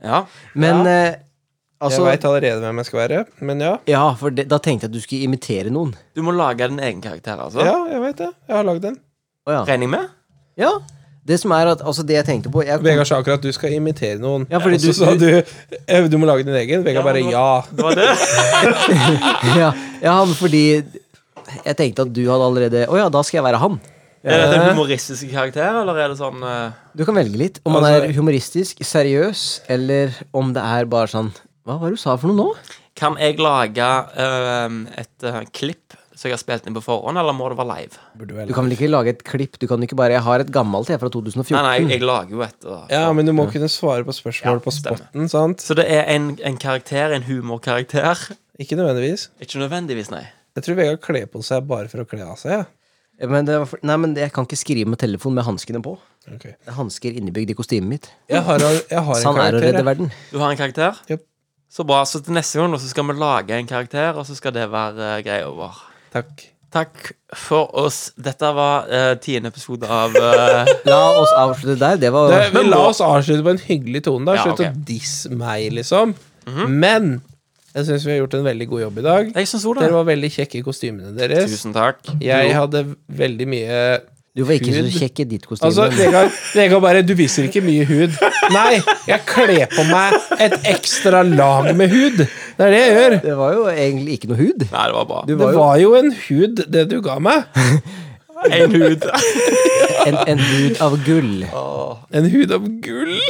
A: Ja.
C: Men eh,
B: Jeg
C: altså
B: veit allerede hvem jeg skal være, men ja.
C: Ja, for det, da tenkte jeg at du skulle imitere noen.
A: Du må lage din egen karakter, altså.
B: Ja, jeg veit det. Jeg har lagd den.
C: Å ja.
A: Regner jeg med?
C: ja. Det som er at Altså, det jeg tenkte på jeg kom,
B: Vegard sa akkurat at du skal imitere noen.
C: Ja, fordi
B: og så
C: du-
B: sa du eh, du må lage din egen. Vegard bare ja.
A: Det var det.
C: (laughs) ja, ja, men fordi jeg tenkte at du hadde allerede Å ja, da skal jeg være han.
A: Er dette en humoristisk karakter, eller er det sånn eh,
C: Du kan velge litt. Om han
B: Altså-
C: er humoristisk, seriøs, eller om det er bare sånn Hva var det du sa for noe nå?
A: Kan jeg lage eh, et eh, klipp som jeg har spilt inn på forhånd, eller må det være live?
C: Du kan vel ikke lage et klipp? Du kan ikke bare Jeg har et gammelt jeg fra 2014.
A: Nei, nei, jeg, jeg lager jo et. Og,
B: Ja, men du må kunne svare på spørsmål på
A: stemmer.
B: spotten, sant?
A: Så det er en, en karakter, en humorkarakter.
B: Ikke nødvendigvis.
A: Ikke nødvendigvis, nei.
B: Jeg tror Vegard kler på seg bare for å kle av seg. Ja.
C: Men, det var for, nei, men jeg kan ikke skrive med telefon med hanskene på.
B: Ok.
C: Det er hansker innebygd i kostymet mitt.
B: Jeg har, jeg har en
C: Sånn er å
B: karakter.
C: redde
B: jeg.
C: verden.
A: Du har en karakter?
B: Jep.
A: Så bra. Så til neste gang nå, så skal vi lage en karakter, og så skal det være uh, greia vår.
B: Takk.
A: Takk for oss. Dette var eh, tiende episode av eh,
B: (laughs)
C: La oss avslutte der. Det var
B: Det, vi la oss avslutte på en hyggelig tone. da
A: Ja,
B: Slutt
A: ok.
B: å disse meg, liksom. Men jeg syns vi har gjort en veldig god jobb i dag.
A: Jeg syns òg det.
B: Dere var veldig kjekke i kostymene deres.
A: Tusen takk.
B: Jeg hadde veldig mye
C: Du var ikke så
B: Gud.
C: kjekk i ditt
B: (laughs)
C: kostyme.
B: Altså,
C: men-
B: Vegard, Vegard bare 'Du viser ikke mye hud'. Nei, jeg kler på meg et ekstra lag med hud. Det er det jeg gjør.
C: det var jo egentlig ikke noe hud.
A: Nei, det var bra.
C: Du
B: Det
C: var jo
B: var jo en hud, det du ga meg.
A: En hud.
C: en, en hud av gull.
B: En hud av gull.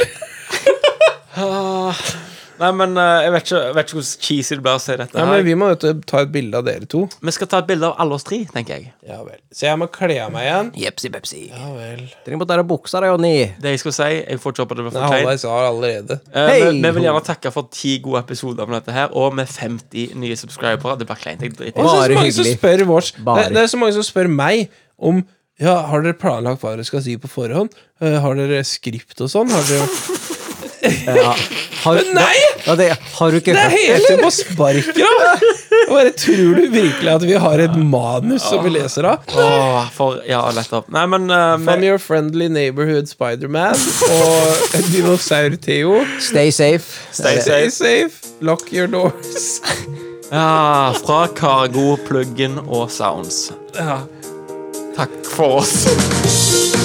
A: Nei, men eh, jeg vet ikke, jeg vet ikke hvordan cheesy det blir å si dette
B: Nei, men
A: her.
B: Vi må nødt til å ta et bilde av dere to.
A: Vi skal ta et bilde av alle oss tre, tenker jeg.
B: Ja vel. Så jeg må kle av meg igjen.
C: Jepsi pepsi.
B: Ja vel.
C: Trenger bare ta av buksa, da, Jonny.
A: Det jeg skulle si, jeg får ikke håpe det blir for kleint.
B: Halvveis har allerede.
A: Eh,
C: Hei!
A: vi, vi vil gjerne takke for ti gode episoder med dette her, og med 50 nye subscribere. Det blir kleint. Jeg driter
B: Og
A: i det.
B: så er det så mange som
C: Bare hyggelig.
B: spør vårs. Det,
C: Bare.
B: det er så mange som spør meg om
C: (laughs)
B: ja, har dere planlagt hva dere skal si på forhånd? Eh, har dere skript og sånn? Har dere
C: Ja. Har,
B: Nei!
C: Ja, det, har du ikke
B: Det er
C: hørt
B: helt inn på sparket, da! Og Bare tror du virkelig at vi har et manus som vi leser av?
A: Åh, for Ja, nettopp. Nei, men eh,
B: From
A: men-
B: your friendly neighborhood Spiderman og Dinosaur-Theo.
C: Stay safe.
A: Stay
B: Stay
A: safe.
B: safe, lock your doors.
A: Ja, fra Cargo, Pluggen og Sounds. Takk for oss.